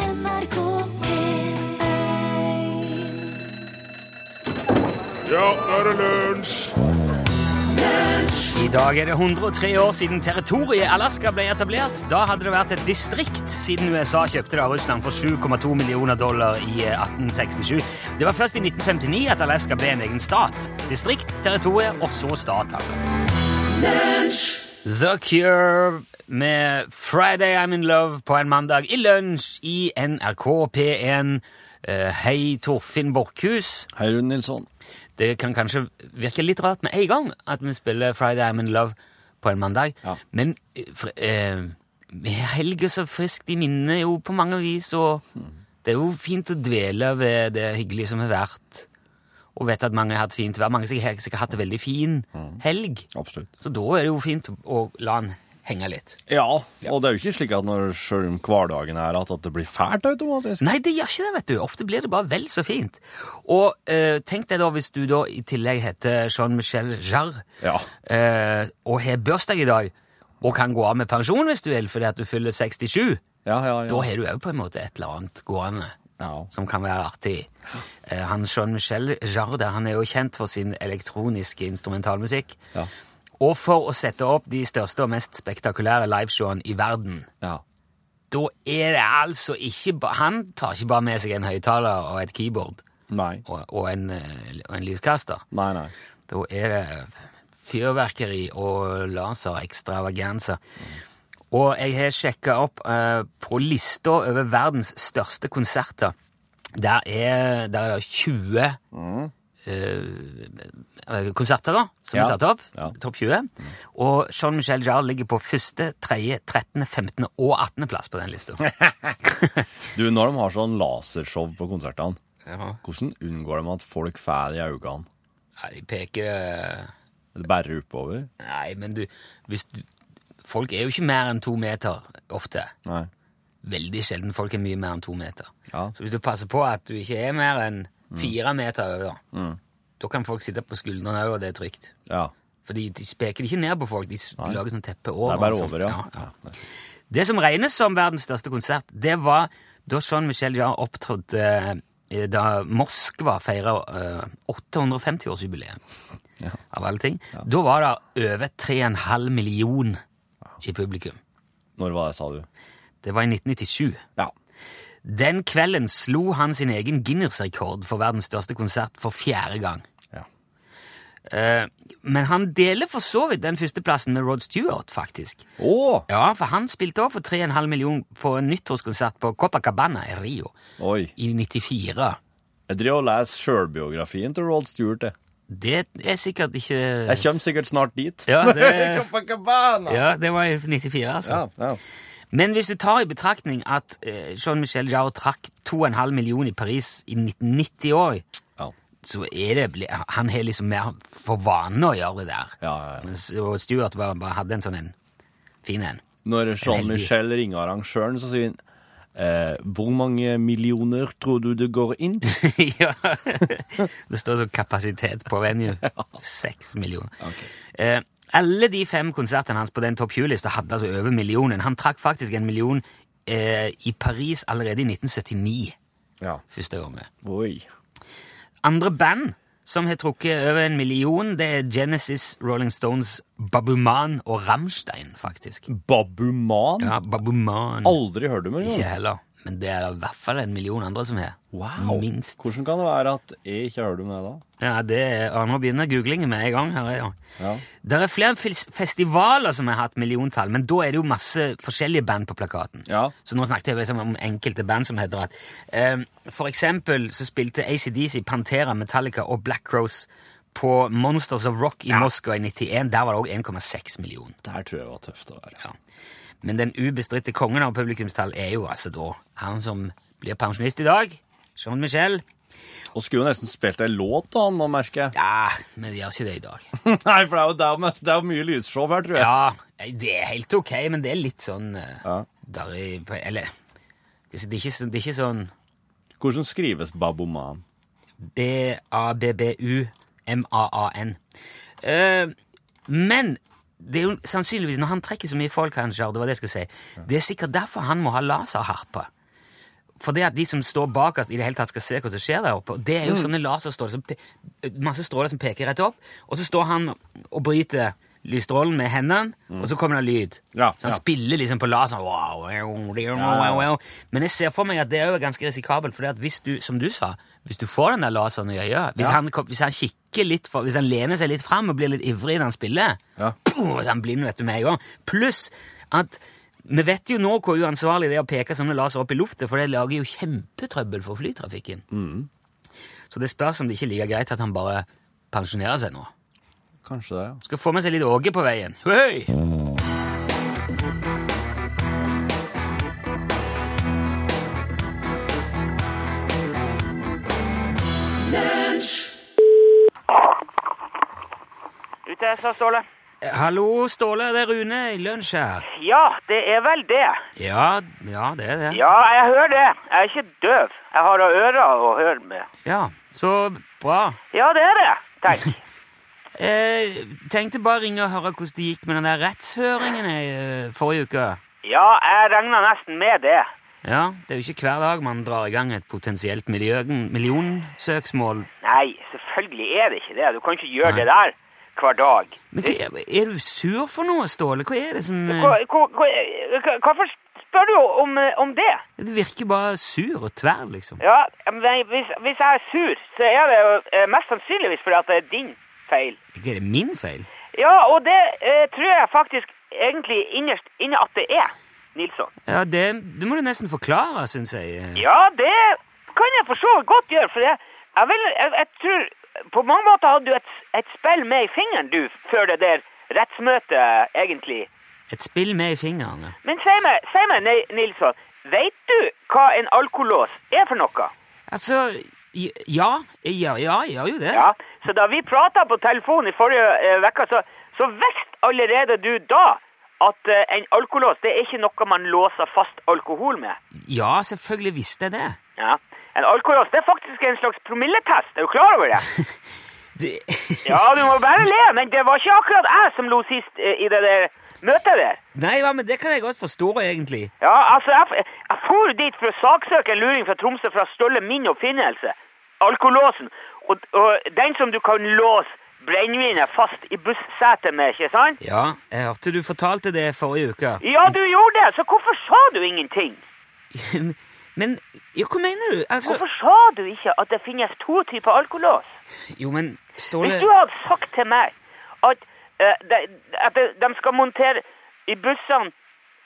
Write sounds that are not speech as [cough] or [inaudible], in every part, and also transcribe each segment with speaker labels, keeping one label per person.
Speaker 1: NRK P1
Speaker 2: Ja, nå er det lunsj!
Speaker 3: I dag er det 103 år siden territoriet Alaska ble etablert. Da hadde det vært et distrikt siden USA kjøpte det av Russland for 7,2 millioner dollar i eh, 1867. Det var først i 1959 at Alaska ble en egen stat. Distrikt, territorie og så stat, altså. The Cure med Friday I'm in love på en mandag i lunsj i NRK P1. Eh, Hei, Torfinn Borkhus.
Speaker 4: Hei, Rune Nilsson.
Speaker 3: Det kan kanskje virke litt rart med en gang at vi spiller Friday I'm in love på en mandag,
Speaker 4: Ja.
Speaker 3: men eh, fr- eh, vi har helga så friskt i minnet jo på mange vis, og det er jo fint å dvele ved det hyggelige som har vært, og vet at mange har hatt fint vær. Mange som har sikkert hatt det veldig fin helg,
Speaker 4: Absolutt.
Speaker 3: så da er det jo fint å la den henge litt.
Speaker 4: Ja, og det er jo ikke slik at når selv om hverdagen er at, at det blir fælt automatisk.
Speaker 3: Nei, det gjør ikke det, vet du. Ofte blir det bare vel så fint. Og eh, tenk deg da hvis du da i tillegg heter Jean-Michel Jarre
Speaker 4: Ja.
Speaker 3: eh, og har bursdag i dag, og kan gå av med pensjon hvis du vil fordi at du fyller 67.
Speaker 4: Ja, ja, ja.
Speaker 3: Da har du òg på en måte et eller annet gående
Speaker 4: Ja.
Speaker 3: som kan være artig. Eh, han Jean-Michel Jarre der, han er jo kjent for sin elektroniske instrumentalmusikk.
Speaker 4: Ja.
Speaker 3: Og for å sette opp de største og mest spektakulære liveshowene i verden
Speaker 4: ja.
Speaker 3: da er det altså ikke ba- Han tar ikke bare med seg en høyttaler og et keyboard
Speaker 4: Nei.
Speaker 3: og, og, en, eh, og en lyskaster.
Speaker 4: Nei, nei.
Speaker 3: Da er det fyrverkeri og laserekstravaganser. Og jeg har sjekka opp eh, på lista over verdens største konserter. Der er, der er det 20
Speaker 4: Mm.
Speaker 3: eh, eh, konserter da, som
Speaker 4: Ja.
Speaker 3: er satt opp.
Speaker 4: Ja.
Speaker 3: Topp 20. Og Jean-Michel Jarre ligger på første, tredje, 13., 15. og 18. plass på den
Speaker 4: [laughs]
Speaker 3: lista.
Speaker 4: Du, når de har sånn lasershow på konsertene,
Speaker 3: Ja.
Speaker 4: hvordan unngår de at folk fær i øynene?
Speaker 3: Nei, de peker eh,
Speaker 4: Er det bare oppover?
Speaker 3: Nei, men du, hvis du Folk er jo ikke mer enn to meter ofte.
Speaker 4: Nei.
Speaker 3: Veldig sjelden folk er mye mer enn to meter.
Speaker 4: Ja.
Speaker 3: Så hvis du passer på at du ikke er mer enn fire meter over,
Speaker 4: Mm.
Speaker 3: da kan folk sitte på skuldrene òg, og det er trygt.
Speaker 4: Ja.
Speaker 3: Fordi de peker ikke ned på folk, de s- lager sånn teppe over.
Speaker 4: Det er bare
Speaker 3: og sånn.
Speaker 4: over, ja.
Speaker 3: ja.
Speaker 4: ja.
Speaker 3: Det som regnes som verdens største konsert, det var da Jean-Michel Jarre opptrådte eh, da Moskva feira 850-årsjubileum.
Speaker 4: Ja.
Speaker 3: Av alle ting. Da var det over 3,5 million i publikum.
Speaker 4: Når var det, sa du?
Speaker 3: Det var i 1997.
Speaker 4: Ja.
Speaker 3: Den kvelden slo han sin egen Guinness-rekord for verdens største konsert for fjerde gang.
Speaker 4: Ja.
Speaker 3: Eh, Men han deler for så vidt den førsteplassen med Rod Stewart, faktisk.
Speaker 4: Å!
Speaker 3: Ja, for han spilte òg for 3,5 millioner på en nyttårskonsert på Copacabana i Rio
Speaker 4: Oi.
Speaker 3: i 94.
Speaker 4: Jeg driver og leser sjølbiografien til Rod Stewart, jeg.
Speaker 3: Det er sikkert ikke
Speaker 4: Jeg kommer sikkert snart dit. [laughs]
Speaker 3: Ja, det-
Speaker 4: Copacabana!
Speaker 3: Ja, det var i 94, altså.
Speaker 4: Ja, ja.
Speaker 3: Men hvis du tar i betraktning at eh, Jean-Michel Jarre trakk 2,5 millioner i Paris i 1990 år,
Speaker 4: Ja.
Speaker 3: så er det bli- Han har liksom mer for vane å gjøre det der.
Speaker 4: Ja, ja, ja.
Speaker 3: Mens- Og Stuart var, bare hadde en sånn en fin en.
Speaker 4: Når Jean-Michel ringer arrangøren, så sier han eh, Hvor mange millioner tror du det går inn?
Speaker 3: [laughs] ja. Det står så kapasitet på venue. Seks millioner. Eh, alle de fem konsertene hans på den topp 20-lista hadde altså over millionen. Han trakk faktisk en million eh, i Paris allerede i 1979.
Speaker 4: Ja.
Speaker 3: Første gangen.
Speaker 4: Oi.
Speaker 3: Andre band som har trukket over en million, det er Genesis, Rolling Stones, Babuman og Rammstein, faktisk.
Speaker 4: Babuman?
Speaker 3: Ja, Babuman.
Speaker 4: Aldri hørt om
Speaker 3: Ikke
Speaker 4: engang.
Speaker 3: heller. Men det er det i hvert fall en million andre som har.
Speaker 4: Wow.
Speaker 3: Minst.
Speaker 4: Hvordan kan det være at jeg ikke har hørt om det da?
Speaker 3: Ja, det er, ja, Nå begynner googlingen med en gang. her, ja.
Speaker 4: Ja.
Speaker 3: Det er flere fes- festivaler som har hatt milliontall, men da er det jo masse forskjellige band på plakaten.
Speaker 4: Ja.
Speaker 3: Så nå snakket jeg liksom om enkelte band som heter at eh, For eksempel så spilte ACDC, Pantera, Metallica og Black Rose på Monsters of Rock i Moskva i 91. Der var det òg 1,6 millioner.
Speaker 4: Der tror jeg var tøft å være.
Speaker 3: Ja. Men den ubestridte kongen av publikumstall er jo altså da han som blir pensjonist i dag. Jean-Michel.
Speaker 4: Og skulle jo nesten spilt ei låt da, nå merker jeg.
Speaker 3: Ja, men de gjør ikke det i dag.
Speaker 4: [laughs] Nei, for det er jo, det er jo, mest- det er jo mye lysshow her, tror jeg.
Speaker 3: Ja, nei, det er helt ok, men det er litt sånn eh,
Speaker 4: Ja.
Speaker 3: der i, på- Eller det er, ikke, så- det er ikke sånn
Speaker 4: Hvordan skrives Babuman?
Speaker 3: B-A-B-B-U-M-A-A-N. Eh, men det er jo sannsynligvis når han trekker så mye folk, han Sjard, det var det jeg skulle si, det er sikkert derfor han må ha laserharpe. for det at de som står bak oss, i det hele tatt skal se hva som skjer der oppe, det er jo
Speaker 4: Mm.
Speaker 3: sånne laserstråler som pe Masse stråler som peker rett opp, og så står han og bryter lysstrålen med hendene, og så kommer det lyd.
Speaker 4: Mm. Ja,
Speaker 3: så han
Speaker 4: ja.
Speaker 3: spiller liksom på laseren. Wow, wow, wow, wow. Men jeg ser for meg at det er jo ganske risikabelt, for hvis du, som du sa, hvis du får den der laseren i øyet, hvis,
Speaker 4: Ja.
Speaker 3: han, kom- hvis han kikker litt, for, hvis han lener seg litt fram og blir litt ivrig når han spiller,
Speaker 4: Ja.
Speaker 3: Puh, så han blind, vet du, med en gang. Pluss at vi vet jo nå hvor uansvarlig det er å peke sånne laser opp i luftet, for det lager jo kjempetrøbbel for flytrafikken.
Speaker 4: Mm.
Speaker 3: Så det spørs om det ikke er like greit at han bare pensjonerer seg nå.
Speaker 4: Kanskje det, ja.
Speaker 3: Skal få med seg litt Åge på veien. Hei!
Speaker 1: Ute jeg sa Ståle.
Speaker 3: Eh, Hallo, Ståle, det er Rune i lunsj her.
Speaker 1: Ja, det er vel det.
Speaker 3: Ja, ja, det er det.
Speaker 1: Ja, jeg hører det. Jeg er ikke døv. Jeg har ører å høre med.
Speaker 3: Ja, så bra.
Speaker 1: Ja, det er det. Tenk.
Speaker 3: Eh, tenkte bare ringe og høre hvordan det gikk med den der rettshøringen i eh, forrige uke.
Speaker 1: Ja, jeg regner nesten med det.
Speaker 3: Ja, det er jo ikke hver dag man drar i gang et potensielt miljø- millionsøksmål.
Speaker 1: Nei, selvfølgelig er det ikke det. Du kan ikke gjøre
Speaker 3: Nei.
Speaker 1: det der hver dag.
Speaker 3: Men hva, er du sur for noe, Ståle? Hva er det som eh,
Speaker 1: Hva- hva- hva- Hvorfor spør du om, om det?
Speaker 3: Du eh, virker bare sur og tverr, liksom.
Speaker 1: Ja, men hvis, hvis jeg er sur, så er det jo eh, mest sannsynligvis fordi at det er din feil.
Speaker 3: Ikke er det min feil?
Speaker 1: Ja, og det eh, tror jeg faktisk egentlig innerst inne at det er, Nilsson.
Speaker 3: Ja, det, det må du nesten forklare, syns jeg. Eh,
Speaker 1: Ja, det kan jeg for så vidt godt gjøre, for jeg, jeg, vil, jeg, jeg tror På mange måter hadde du et, et spill med i fingeren, du, før det der rettsmøtet, egentlig.
Speaker 3: Et spill med i fingrene.
Speaker 1: Men si meg, si meg Ni- Nilsson, veit du hva en alkolås er for noe?
Speaker 3: Altså j- Ja, jeg gjør, ja, jeg gjør jo det.
Speaker 1: Ja, Så da vi prata på telefon i forrige eh, uke, så, så visste allerede du da at eh, en alkolås det er ikke noe man låser fast alkohol med.
Speaker 3: Ja, selvfølgelig visste jeg det.
Speaker 1: Ja. En alkolås det er faktisk en slags promilletest. Er du klar over det?
Speaker 3: det [laughs]
Speaker 1: Ja, du må bare le, men det var ikke akkurat jeg som lo sist eh, i det der møtet der.
Speaker 3: Nei, hva, men det kan jeg godt forstå, egentlig.
Speaker 1: Ja, altså, jeg, f- jeg for dit for å saksøke en luring fra Tromsø for å stjåle min oppfinnelse, alkolåsen, og, og den som du kan låse brennevinet fast i bussetet med, ikke sant?
Speaker 3: Ja, jeg hørte du fortalte det forrige uke.
Speaker 1: Ja, du gjorde det, så hvorfor sa du ingenting?
Speaker 3: [laughs] Men ja, hva mener du? Altså
Speaker 1: Hvorfor sa du ikke at det finnes to typer alkolås?
Speaker 3: Jo, men Ståle
Speaker 1: Hvis du hadde sagt til meg at, eh, de, at de, de skal montere i bussene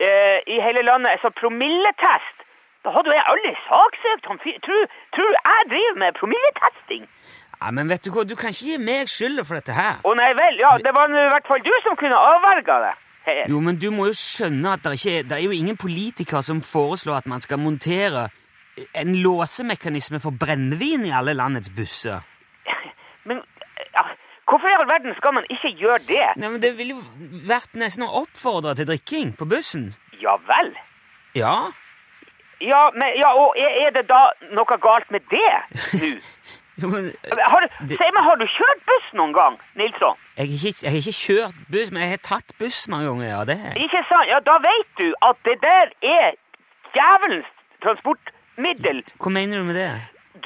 Speaker 1: eh, i hele landet en sånn promilletest, da hadde jo jeg aldri saksøkt han fyren. Tror, tror du jeg driver med promilletesting?
Speaker 3: Ja, men vet du hva, du kan ikke gi meg skylda for dette her.
Speaker 1: Å nei vel, ja, det var nå i hvert fall du som kunne avverga det. Her.
Speaker 3: Jo, men du må jo skjønne at det, ikke er, det er jo ingen politiker som foreslår at man skal montere eh, en låsemekanisme for brennevin i alle landets busser.
Speaker 1: Men ja, hvorfor i all verden skal man ikke gjøre det?
Speaker 3: Nei, men Det ville jo vært nesten å oppfordre til drikking på bussen.
Speaker 1: Ja vel.
Speaker 3: Ja.
Speaker 1: Ja, men, ja, og er, er det da noe galt med det
Speaker 3: [laughs]
Speaker 1: nå?
Speaker 3: Jo, men eh,
Speaker 1: Har, du-
Speaker 3: Det-
Speaker 1: si meg, har du kjørt buss noen gang, Nilsson?
Speaker 3: jeg har ikke, jeg har ikke kjørt buss, men jeg har tatt buss mange ganger. ja, det har jeg.
Speaker 1: Ikke sant? Ja, da vet du at det der er djevelens transportmiddel.
Speaker 3: Hva mener du med det?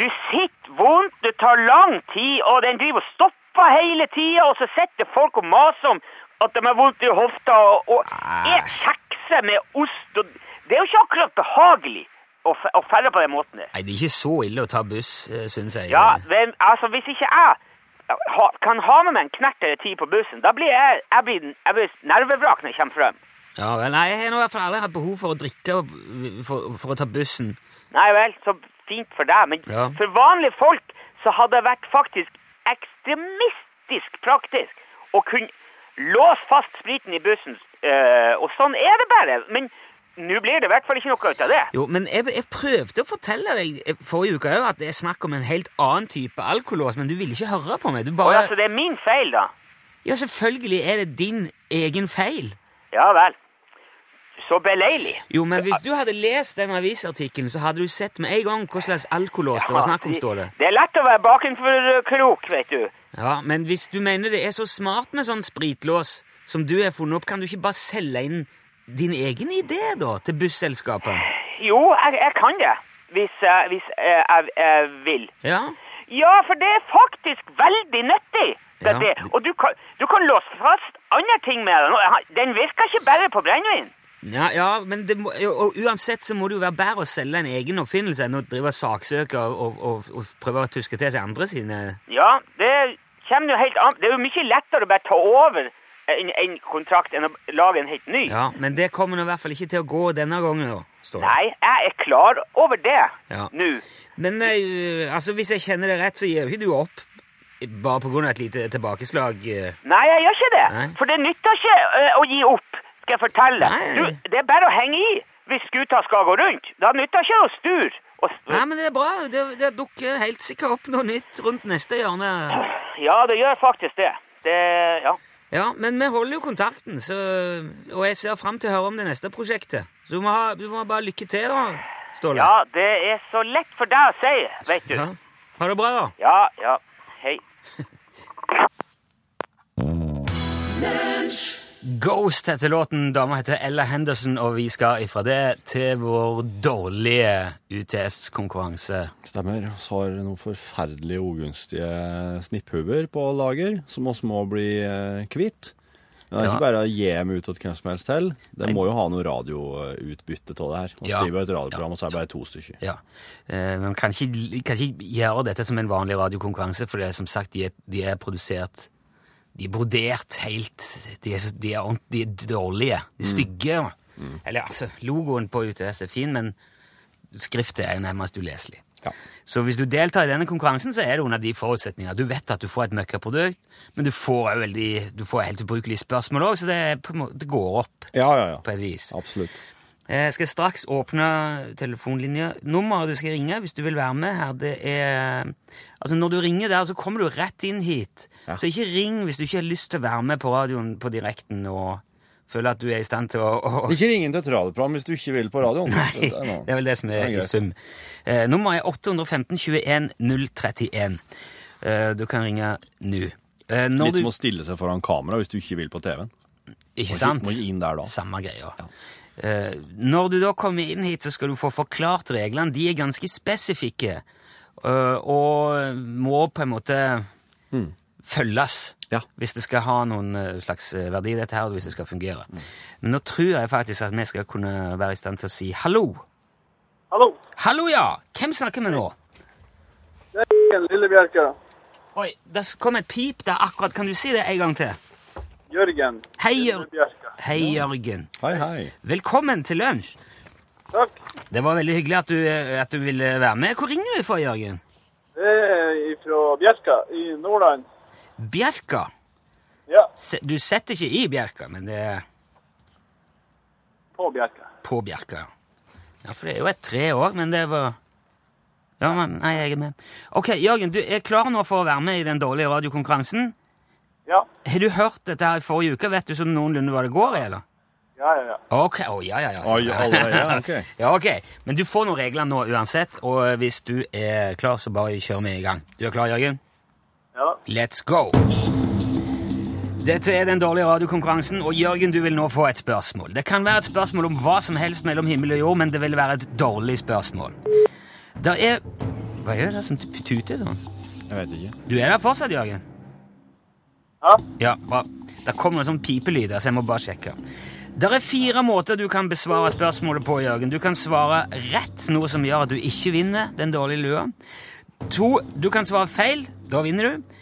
Speaker 1: Du sitter vondt, det tar lang tid, og den driver og stopper hele tida, og så sitter folk og maser om at de har vondt i hofta, og, og
Speaker 3: Ah.
Speaker 1: et kjekse med ost og Det er jo ikke akkurat behagelig å, fe- å ferde på den måten der.
Speaker 3: Nei, Det er ikke så ille å ta buss, syns jeg.
Speaker 1: Ja, men altså, hvis ikke jeg ha, kan ha med meg en knert eller ti på bussen, da blir jeg, jeg, blir, jeg blir nervevrak når jeg kommer frem.
Speaker 3: Ja vel, Nei, jeg har nå i hvert fall aldri hatt behov for å drikke eh, for, for å ta bussen.
Speaker 1: Nei vel, så fint for deg, men
Speaker 3: Ja.
Speaker 1: for vanlige folk så hadde det vært faktisk ekstremistisk praktisk å kunne låse fast spriten i bussen, eh, og sånn er det bare. Men nå blir det i hvert fall ikke noe ut av det.
Speaker 3: Jo, men jeg, jeg prøvde å fortelle deg eh, forrige uke også at det er snakk om en helt annen type alkolås, men du ville ikke høre på meg. Du
Speaker 1: Og
Speaker 3: bare
Speaker 1: altså, det er min feil, da.
Speaker 3: Ja, selvfølgelig er det din egen feil.
Speaker 1: Ja vel. Så beleilig.
Speaker 3: Jo, men hvis du hadde lest den avisartikkelen, så hadde du sett med en gang hva slags alkolås det var snakk om, Ståle.
Speaker 1: Det er lett å være bakenfor eh, krok, vet du.
Speaker 3: Ja, men hvis du mener det er så smart med sånn spritlås som du har funnet opp, kan du ikke bare selge inn din egen idé, da, til busselskapet?
Speaker 1: Jo, jeg, jeg kan det. hvis, jeg- hvis eh, jeg, jeg vil.
Speaker 3: Ja.
Speaker 1: Ja, for det er faktisk veldig nyttig. Det,
Speaker 3: Ja.
Speaker 1: det. Og du kan, du kan låse fast andre ting med den. Og Den virker ikke bare på brennevin.
Speaker 3: Ja, ja men det må, jo, og uansett så må det jo være bedre å selge en egen oppfinnelse enn å drive og saksøke og, og, og, og prøve å tuske til seg andre sine
Speaker 1: Ja, det kommer jo helt an Det er jo mye lettere å bare ta over en, en kontrakt enn å lage en helt ny.
Speaker 3: Ja, men det kommer nå i hvert fall ikke til å gå denne gangen, da. Står det.
Speaker 1: Nei, jeg er klar over det
Speaker 3: Ja.
Speaker 1: nå.
Speaker 3: Men eh, altså, hvis jeg kjenner det rett, så gir jo ikke du opp bare på grunn av et lite tilbakeslag. eh.
Speaker 1: Nei, jeg gjør ikke det.
Speaker 3: Nei.
Speaker 1: For det nytter ikke eh, å gi opp, skal jeg fortelle.
Speaker 3: Nei.
Speaker 1: Du, det er bare å henge i hvis skuta skal gå rundt. Da nytter ikke å sture. Og,
Speaker 3: Nei, men det er bra. Det, det dukker helt sikkert opp noe nytt rundt neste hjørne.
Speaker 1: ja, det gjør faktisk det. Det, ja.
Speaker 3: Ja, men vi holder jo kontakten, så, og jeg ser fram til å høre om det neste prosjektet. Så du må, ha, du må bare lykke til, da, Ståle.
Speaker 1: ja, det er så lett for deg å si, vet du.
Speaker 3: Ja. Ha det bra, da.
Speaker 1: Ja, ja. Hei.
Speaker 3: Ghost heter låten. Dama heter Ella Henderson, og vi skal ifra det til vår dårlige UTS-konkurranse.
Speaker 4: Stemmer. Vi har noen forferdelig ugunstige snipphuver på lager, som vi må bli eh, kvitt. Det er
Speaker 3: Ja.
Speaker 4: ikke bare å gi dem ut til hvem som helst til. De må jo ha noe radioutbytte av det her. Vi
Speaker 3: Ja.
Speaker 4: skriver et radioprogram, og så er det bare to stykker.
Speaker 3: Ja. Eh, Men kan ikke, kan ikke gjøre dette som en vanlig radiokonkurranse, for det er som sagt, de er, de er produsert De er brodert helt De er, så- de er, ordent- de er dårlige. De er stygge. Eller altså, logoen på UTS er fin, men skriften er nærmest uleselig.
Speaker 4: Ja.
Speaker 3: Så hvis du deltar i denne konkurransen, så er det under de forutsetninger. Du vet at du får et møkkaprodukt, men du får, også veldig, du får helt ubrukelige spørsmål òg, så det, er på en måte, det går opp
Speaker 4: Ja, ja, ja.
Speaker 3: på et vis.
Speaker 4: Absolutt.
Speaker 3: Jeg Eh, skal straks åpne telefonlinja. Nummeret du skal ringe hvis du vil være med her, det er Altså, når du ringer der, så kommer du rett inn hit.
Speaker 4: Ja.
Speaker 3: Så ikke ring hvis du ikke har lyst til å være med på radioen på direkten og føler at du er i stand til å, å
Speaker 4: Ikke ring inn til et radioprogram hvis du ikke vil på radioen.
Speaker 3: Nei,
Speaker 4: Dette er noe.
Speaker 3: det er vel det som
Speaker 4: Det
Speaker 3: er
Speaker 4: er
Speaker 3: i
Speaker 4: greit.
Speaker 3: sum. Eh, nummeret er 815 21 031. Eh, du kan ringe nå. Eh, når
Speaker 4: Litt
Speaker 3: du-
Speaker 4: som å stille seg foran kamera hvis du ikke vil på TV-en.
Speaker 3: Ikke
Speaker 4: ikke-
Speaker 3: sant?
Speaker 4: må ikke inn der da.
Speaker 3: Samme greia. Eh, når du da kommer inn hit, så skal du få forklart reglene. De er ganske spesifikke, eh, og må på en måte
Speaker 4: Mm.
Speaker 3: følges.
Speaker 4: Ja.
Speaker 3: Hvis det skal ha noen eh, slags eh, verdi, dette her, og hvis det skal fungere.
Speaker 4: Mm.
Speaker 3: Men nå tror jeg faktisk at vi skal kunne være i stand til å si hallo.
Speaker 5: Hallo.
Speaker 3: Hallo, ja! Hvem snakker vi nå?
Speaker 5: Det er Lille Bjerke.
Speaker 3: Oi, det kom et pip der akkurat. Kan du si det en gang til?
Speaker 5: Jørgen.
Speaker 3: Hei, Jør-
Speaker 5: Lille Bjerke.
Speaker 3: Hei, Jørgen.
Speaker 4: Hei, hei.
Speaker 3: Velkommen til lunsj.
Speaker 5: Takk.
Speaker 3: Det var veldig hyggelig at du, at du ville være med. Hvor ringer du fra, Jørgen?
Speaker 5: Det er fra Bjerka i Nordland.
Speaker 3: Bjerka?
Speaker 5: Ja,
Speaker 3: Se, du setter ikke i Bjerka, men det er
Speaker 5: på Bjerka.
Speaker 3: på Bjerka. Ja, for det er jo et tre òg, men det var Ja, men nei, jeg er med. Ok, Jørgen, du er klar nå for å være med i den dårlige radiokonkurransen.
Speaker 5: Ja,
Speaker 3: Har du hørt dette her i forrige uke? Vet du sånn noenlunde hva det går i, eller?
Speaker 5: ja, ja. ja.
Speaker 3: Ok, å ja, ja, ja.
Speaker 4: Oi,
Speaker 3: sånn, ja.
Speaker 4: alle, ja, ok.
Speaker 3: [laughs] Ja, ok. Men du får noen regler nå uansett, og hvis du er klar, så bare kjør vi i gang. Du er klar, Jørgen?
Speaker 5: ja.
Speaker 3: Let's go! Dette er den dårlige radiokonkurransen, og Jørgen, du vil nå få et spørsmål. Det kan være et spørsmål om hva som helst mellom himmel og jord, men det vil være et dårlig spørsmål. Der er Hva er det der som tuter sånn?
Speaker 4: Jeg vet ikke.
Speaker 3: Du er der fortsatt, Jørgen?
Speaker 5: Ja.
Speaker 3: Ja, bra. Der kommer noen sånn pipelyder, så jeg må bare sjekke. Der er fire måter du kan besvare spørsmålet på, Jørgen. Du kan svare rett, noe som gjør at du ikke vinner den dårlige lua. To, du kan svare feil. Da vinner du.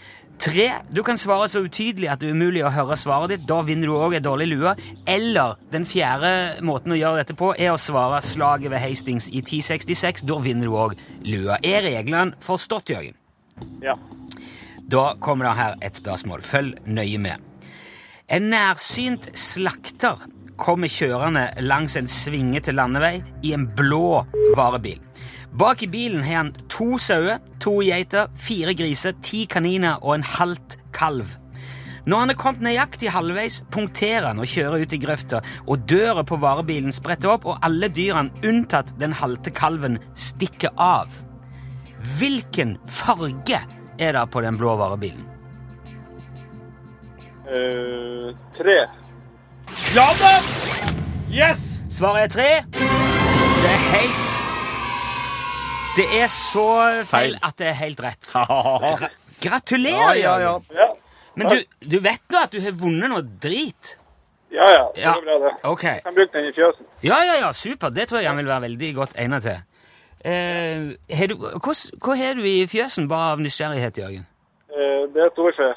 Speaker 3: Tre, du kan svare så utydelig at det er umulig å høre svaret ditt. Da vinner du òg ei dårlig lue. Eller den fjerde måten å gjøre dette på er å svare slaget ved Hastings i 1066. Da vinner du òg lua. Er reglene forstått, Jørgen?
Speaker 5: ja.
Speaker 3: Da kommer det her et spørsmål. Følg nøye med. En nærsynt slakter kommer kjørende langs en svingete landevei i en blå varebil. Bak i bilen har han to sauer, to geiter, fire griser, ti kaniner og en halvt kalv. Når han er kommet nøyaktig halvveis, punkterer han og kjører ut i grøfta, og døra på varebilen spretter opp, og alle dyrene, unntatt den halte kalven, stikker av. Hvilken farge er det på den blå varebilen?
Speaker 5: Eh, tre.
Speaker 4: Ja da! Yes!
Speaker 3: Svaret er tre. Det er helt Det er så feil
Speaker 4: Feil.
Speaker 3: at det er helt rett.
Speaker 4: [laughs] Ja,
Speaker 3: Gratulerer!
Speaker 4: ja, ja.
Speaker 5: Ja,
Speaker 3: Men du, du vet nå at du har vunnet noe drit?
Speaker 5: ja. ja. Det
Speaker 3: Ja.
Speaker 5: var bra, det.
Speaker 3: Ok.
Speaker 5: Kan bruke den i fjøsen.
Speaker 3: Ja, ja, ja, super. Det tror jeg han vil være veldig godt egnet til. Eh, har du, hva, hva har du i fjøsen, bare av nysgjerrighet, Jørgen?
Speaker 5: Eh, Det er storfe.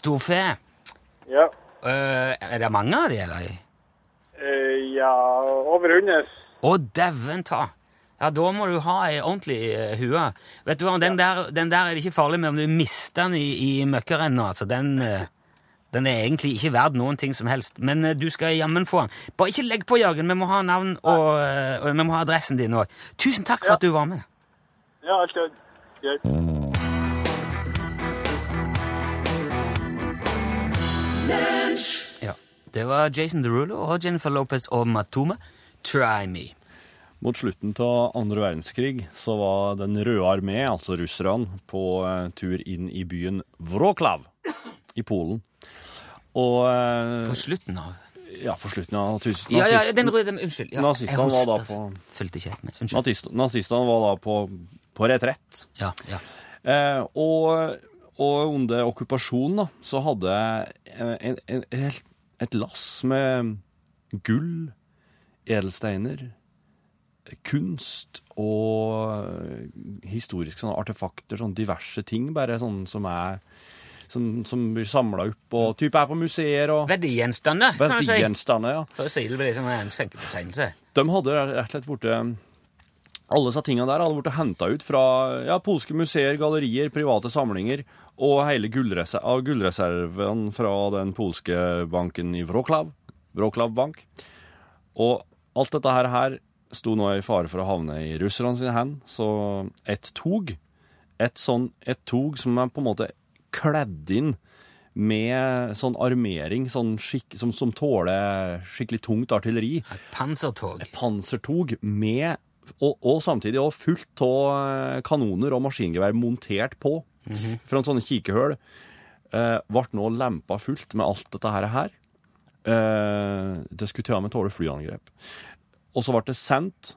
Speaker 3: Storfe.
Speaker 5: Ja.
Speaker 3: Eh, er det mange av de, eller?
Speaker 5: Eh, Ja, over hundres.
Speaker 3: Å, dæven ta! Ja, da må du ha ei ordentlig eh, hue. Vet du hva, den der, den der er det ikke farlig med om du mister den i, i møkkarenna. Altså, den, eh, den er egentlig ikke verd noen ting som helst. Men eh, du skal jammen få den. Bare ikke legg på, Jørgen. Vi må ha navn og, eh, og vi må ha adressen din òg. Tusen takk for at du var med.
Speaker 5: Ja, alt er greit.
Speaker 3: Ja. Det var Jason Derulo og Jennifer Lopez og Matoma. Try me.
Speaker 4: Mot slutten av andre verdenskrig så var Den røde armé, altså russerne, på eh, tur inn i byen Wroclaw i Polen. Og eh,
Speaker 3: På slutten av
Speaker 4: ja, på slutten av tusen
Speaker 3: Ja, ja,
Speaker 4: nazisten-
Speaker 3: den røde Unnskyld. Ja,
Speaker 4: Nazistene
Speaker 3: jeg hostet,
Speaker 4: var da
Speaker 3: så
Speaker 4: på-
Speaker 3: Fulgte ikke helt med. Unnskyld.
Speaker 4: nazist- Nazistene var da på, på retrett.
Speaker 3: Ja, ja.
Speaker 4: Eh, og, og under okkupasjonen da, så hadde jeg en, en, en, et lass med gull, edelsteiner, kunst og historiske sånne artefakter, sånne diverse ting, bare sånne som er som, som blir samla opp, og type er på museer og
Speaker 3: Verdigjenstander, kan du si.
Speaker 4: verdigjenstander. Ja.
Speaker 3: For å si det med det som er en senkebetegnelse.
Speaker 4: De hadde rett og slett blitt Alle disse tingene der hadde blitt henta ut fra ja, polske museer, gallerier, private samlinger og hele gullreser av gullreserven fra den polske banken i Wroclaw, Wroclaw Bank. Og alt dette her, her sto nå i fare for å havne i russerne sine hender, så et tog et sånn et tog som er på en måte kledd inn med sånn armering sånn skikk, som, som tåler skikkelig tungt artilleri
Speaker 3: Pansertog.
Speaker 4: pansertog med og, og samtidig også fullt av eh, kanoner og maskingevær montert på fra en sånn kikehøl, eh, ble nå lempa fullt med alt dette her. her. Eh, det skulle til og med tåle flyangrep. Og så ble det sendt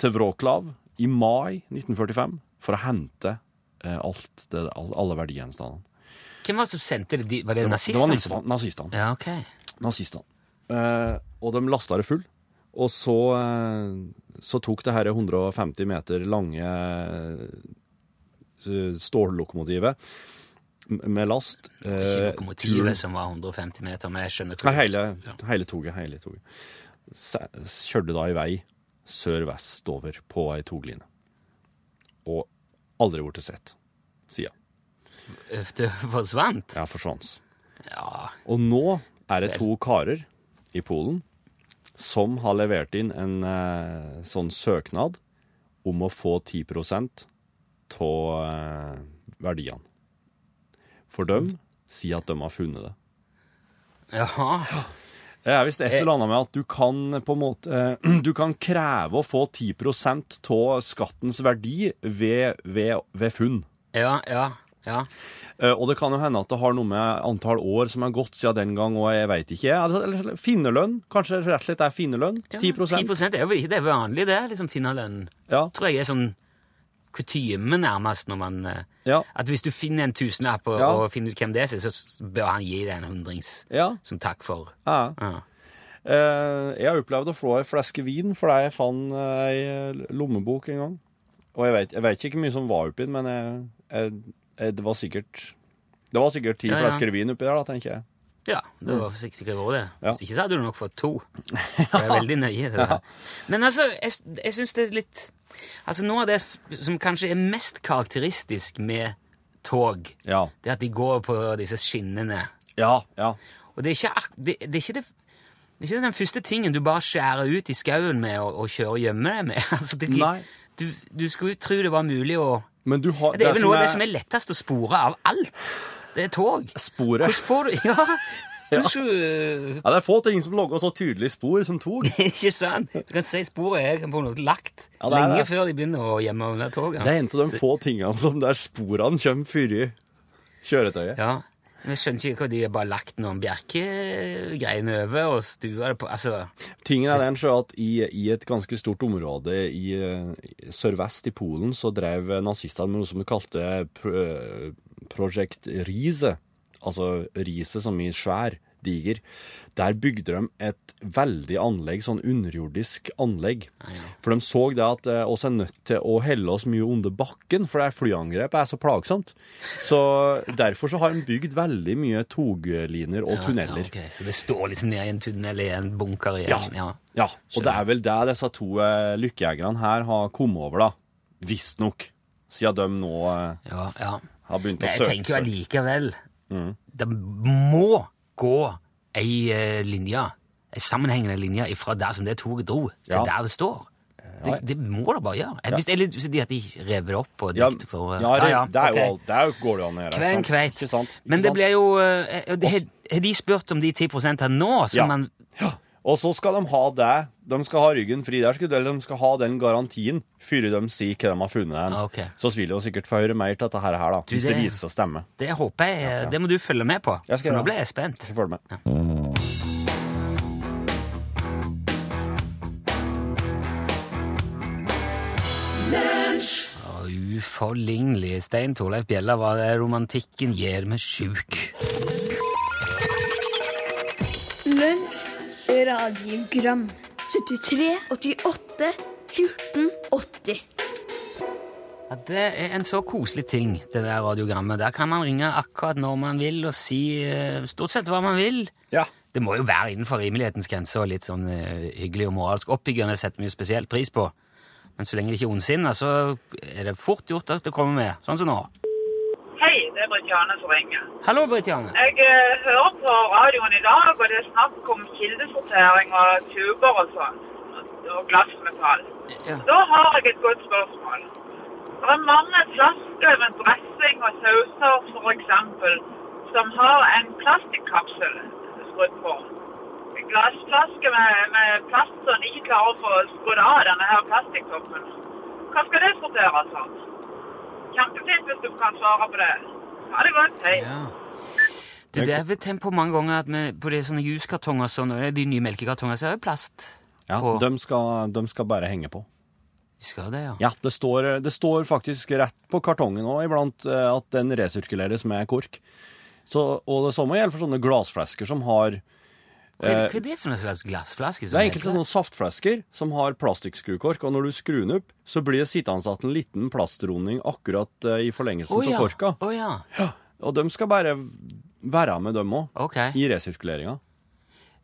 Speaker 4: til Wroclaw i mai 1945 for å hente eh, alt det, all- alle verdigjenstandene.
Speaker 3: Hvem var det som sendte det dit? Var det,
Speaker 4: Det var-
Speaker 3: nazistene?
Speaker 4: Det var nazistene. nazistene
Speaker 3: Ja, ok.
Speaker 4: nazistene. Eh, og de lasta det full. Og så, eh, så tok det her 150 meter lange eh, stållokomotivet m- med last eh,
Speaker 3: Ikke lokomotivet
Speaker 4: turen-
Speaker 3: som var 150 meter, men jeg skjønner
Speaker 4: Nei,
Speaker 3: hvor
Speaker 4: hele,
Speaker 3: Ja.
Speaker 4: hele toget. Hele toget. Se- Kjørte da i vei sør-vestover på ei togline. Og aldri blitt sett sida.
Speaker 3: Øff, [laughs] Det forsvant?
Speaker 4: Jeg forsvant.
Speaker 3: Ja.
Speaker 4: Og nå er det to karer i Polen som har levert inn en eh, sånn søknad om å få 10 av eh, verdiene. For dem sier at de har funnet det.
Speaker 3: Jaha.
Speaker 4: Det er visst et eller annet med at du kan på en måte eh, [clears throat] Du kan kreve å få 10 av skattens verdi ved, ved, ved funn.
Speaker 3: Ja, ja, ja.
Speaker 4: Eh, Og det kan jo hende at det har noe med antall år som er gått siden den gang, og jeg veit ikke. Eller- Eller finnerlønn. Kanskje det rett og slett er finnerlønn?
Speaker 3: ja
Speaker 4: 10
Speaker 3: 10 er jo ikke det vanlige, det. liksom Finnerlønn.
Speaker 4: Ja.
Speaker 3: tror jeg er sånn kutyme, nærmest, når man eh,
Speaker 4: ja.
Speaker 3: At hvis du finner en tusenlapp og,
Speaker 4: Ja.
Speaker 3: og finner ut hvem det er, så s- bør han gi deg en hundrings
Speaker 4: ja.
Speaker 3: som takk for
Speaker 4: ja.
Speaker 3: ja.
Speaker 4: Eh, Jeg har opplevd å få ei flaske vin fordi jeg fant eh, ei lommebok en gang. Og jeg veit, jeg vet ikke hvor mye som var oppi den, men jeg, jeg, jeg, det var sikkert Det var sikkert ti
Speaker 3: Ja, ja.
Speaker 4: flasker vin oppi der, da, tenker jeg.
Speaker 3: Ja, det var sikkert sikkert vært det.
Speaker 4: Ja.
Speaker 3: Hvis ikke så hadde du nok fått to. [laughs] For jeg er veldig nøye til det her. Men altså, jeg, jeg syns det er litt Altså, noe av det s- som kanskje er mest karakteristisk med tog,
Speaker 4: Ja.
Speaker 3: det er at de går på disse skinnene.
Speaker 4: Ja. ja.
Speaker 3: Og det er ikke, ak- det, det er ikke det det er ikke den første tingen du bare skjærer ut i skauen med og, og kjører og gjemmer deg med. [laughs] Altså, det,
Speaker 4: Nei.
Speaker 3: du, du skulle jo tro det var mulig å
Speaker 4: Men du har
Speaker 3: Det er vel noe av det som er lettest å spore av alt. Det er [laughs] tog.
Speaker 4: Sporet.
Speaker 3: Hvordan får du [laughs] Ja! Hvordan,
Speaker 4: Ja, det er få ting som logger så tydelig spor som tog.
Speaker 3: [laughs] Ikke sant? Du kan si sporet er på en måte lagt
Speaker 4: Ja, det er
Speaker 3: lenge
Speaker 4: det.
Speaker 3: før de begynner å gjemme under toget.
Speaker 4: Det er en av de få tingene som der sporene kommer før i kjøretøyet.
Speaker 3: Ja. Jeg skjønner ikke hva de har bare lagt noen bjerkegreiene over og stua det på Altså,
Speaker 4: Tingen er den sjø at i, i et ganske stort område i eh, sørvest i Polen så drev nazistene med noe som de kalte pr eh, Project Riese, altså Riese som i svær, diger. Der bygde de et veldig anlegg, sånn underjordisk anlegg.
Speaker 3: Ah,
Speaker 4: For de så det at eh, oss er nødt til å helle oss mye under bakken, for det er flyangrep er så plagsomt. Så derfor så har de bygd veldig mye togliner og tunneler.
Speaker 3: Ja, ok, Så det står liksom nede i en tunnel i en bunker i en
Speaker 4: Ja. ja. Og det er vel det disse to eh, lykkejegerne her har kommet over, da. Visstnok. Siden de nå eh,
Speaker 3: ja, ja.
Speaker 4: har begynt
Speaker 3: Men
Speaker 4: å
Speaker 3: jeg
Speaker 4: søke.
Speaker 3: tenker jo
Speaker 4: seg.
Speaker 3: allikevel
Speaker 4: Mm.
Speaker 3: Det må gå ei eh, linje, ei sammenhengende linje fra der som det toget dro, til
Speaker 4: Ja. Eh,
Speaker 3: der det står. Det, det må det bare gjøre. Hvis, eller så de at de rev det opp og
Speaker 4: ja,
Speaker 3: dikter for eh,
Speaker 4: ja, det,
Speaker 3: ja,
Speaker 4: det er jo
Speaker 3: ok.
Speaker 4: alt. Det er jo, går det jo an å gjøre. ikke
Speaker 3: Kven
Speaker 4: sant?
Speaker 3: kveit.
Speaker 4: Ikke sant? Ikke
Speaker 3: Men det
Speaker 4: sant?
Speaker 3: blir jo eh, eh, det- Har de spurt om de 10 her nå? Som
Speaker 4: Ja.
Speaker 3: man,
Speaker 4: Ja. Og så skal de ha det. De skal ha ryggen fri der, skulle- eller de skal ha den garantien før de sier hva de har funnet. hen.
Speaker 3: Ah, ok.
Speaker 4: Så vil jo sikkert få høre mer til dette her, da, hvis det
Speaker 3: det-
Speaker 4: viser seg å stemme.
Speaker 3: det håper jeg. eh, Det må du følge med på.
Speaker 4: Jeg skal
Speaker 3: For nå
Speaker 4: gjøre
Speaker 3: ble jeg spent.
Speaker 4: Så følg med.
Speaker 3: Og Uforlignelig. Stein Torleif Bjella var det romantikken gjør meg sjuk.
Speaker 6: Lunsj, radiogram 73, 88, 14, 80
Speaker 3: Ja, det er en så koselig ting, det der radiogrammet. Der kan man ringe akkurat når man vil og si eh, stort sett hva man vil.
Speaker 4: Ja.
Speaker 3: Det må jo være innenfor rimelighetens grense og litt sånn eh, hyggelig og moralsk oppbyggende setter vi jo spesielt pris på. Men så lenge det ikke er ondsinna, så er det fort gjort at det kommer med. Sånn som nå.
Speaker 7: Hei, det er Britt-Jane som ringer.
Speaker 3: Hallo, Britt-Janne.
Speaker 7: Jeg eh, hører på radioen i dag, og det er snakk om kildesortering og tuber og sånn. Og glassmetall.
Speaker 3: Ja.
Speaker 7: Da har jeg et godt spørsmål. Det er mange flasker med dressing og sauser, for eksempel, som har en plastikkapsel skrudd på. En glassflaske med, med plast som ikke klarer å få skrudd av denne her plastikkoppen. Hva skal det sorteres som? Kjempefint hvis du kan svare på det. Ha det godt. Hei.
Speaker 3: Ja. Du, det er vel tenkt på mange ganger at vi, på de sånne juskartonger sånn, og de nye melkekartonger, så er det plast.
Speaker 4: Ja,
Speaker 3: på.
Speaker 4: de, skal, de skal bare henge på.
Speaker 3: Skal det, ja.
Speaker 4: Ja, det står, det står faktisk rett på kartongen òg iblant eh, at den resirkuleres med kork. Så, og det samme gjelder for sånne glassflasker som har
Speaker 3: Hva
Speaker 4: Eh,
Speaker 3: er, hva er det for noen slags glassflaske?
Speaker 4: Det
Speaker 3: som
Speaker 4: er
Speaker 3: heter
Speaker 4: enkelte sånne saftflasker som har plastikkskrukork, og når du skrur den opp, så blir det sittende igjen en liten plastrunding akkurat eh, i forlengelsen
Speaker 3: Å
Speaker 4: av
Speaker 3: ja.
Speaker 4: korka.
Speaker 3: Å ja.
Speaker 4: Og de skal bare være med, dem òg,
Speaker 3: Ok.
Speaker 4: i resirkuleringa.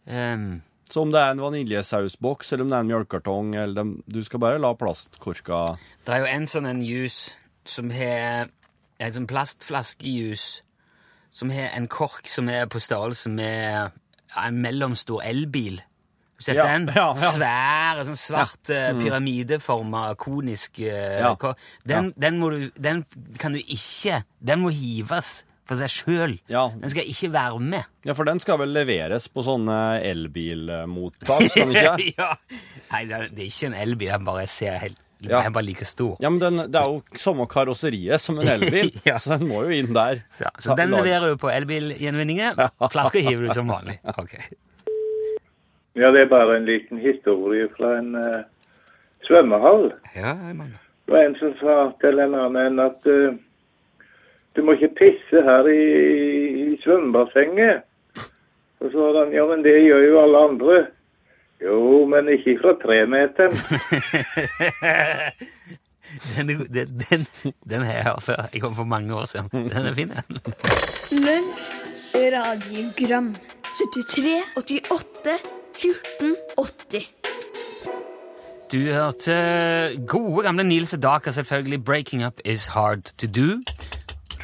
Speaker 3: Ehm,
Speaker 4: Så om det er en vaniljesausboks, eller om det er en mjølkekartong, eller dem- Du skal bare la plastkorka
Speaker 3: det er jo en sånn en juice som har En sånn plastflaskejuice som har en kork som er på størrelse med en mellomstor elbil. Har du Sett
Speaker 4: Ja,
Speaker 3: den?
Speaker 4: [laughs] ja, ja.
Speaker 3: Svær, sånn svart ja. pyramideforma, konisk eh,
Speaker 4: Ja.
Speaker 3: kork. Den, den må du Den kan du ikke Den må hives for seg sjøl.
Speaker 4: Ja.
Speaker 3: Den skal ikke være med.
Speaker 4: Ja, for den skal vel leveres på sånne elbilmottak, skal
Speaker 3: [laughs]
Speaker 4: den ikke?
Speaker 3: ja. Nei, det er, det er ikke en elbil. Den bare ser helt
Speaker 4: Ja.
Speaker 3: Den er bare like stor.
Speaker 4: Ja, men den, det er jo samme karosseriet som en elbil,
Speaker 3: [laughs] Ja.
Speaker 4: så den må jo inn der.
Speaker 3: Ja, så den leverer du på elbilgjenvinninger. [laughs] Flasker hiver du som vanlig. Ok.
Speaker 5: Ja, det er bare en liten historie fra en eh, svømmehall.
Speaker 3: Ja, jeg mener.
Speaker 5: Det var en som sa til en annen at eh, du må ikke pisse her i, i svømmebassenget. Og så var han, ja, men det gjør jo alle andre. Jo, men ikke fra tremeteren.
Speaker 3: [laughs] den, den, den, den har jeg hørt før. Jeg kom for mange år siden. Den er fin, den.
Speaker 6: Lunsj, radiogram 73, 88, 14, 80
Speaker 3: Du hørte gode gamle Nils Daker, selvfølgelig. 'Breaking Up Is Hard To Do'.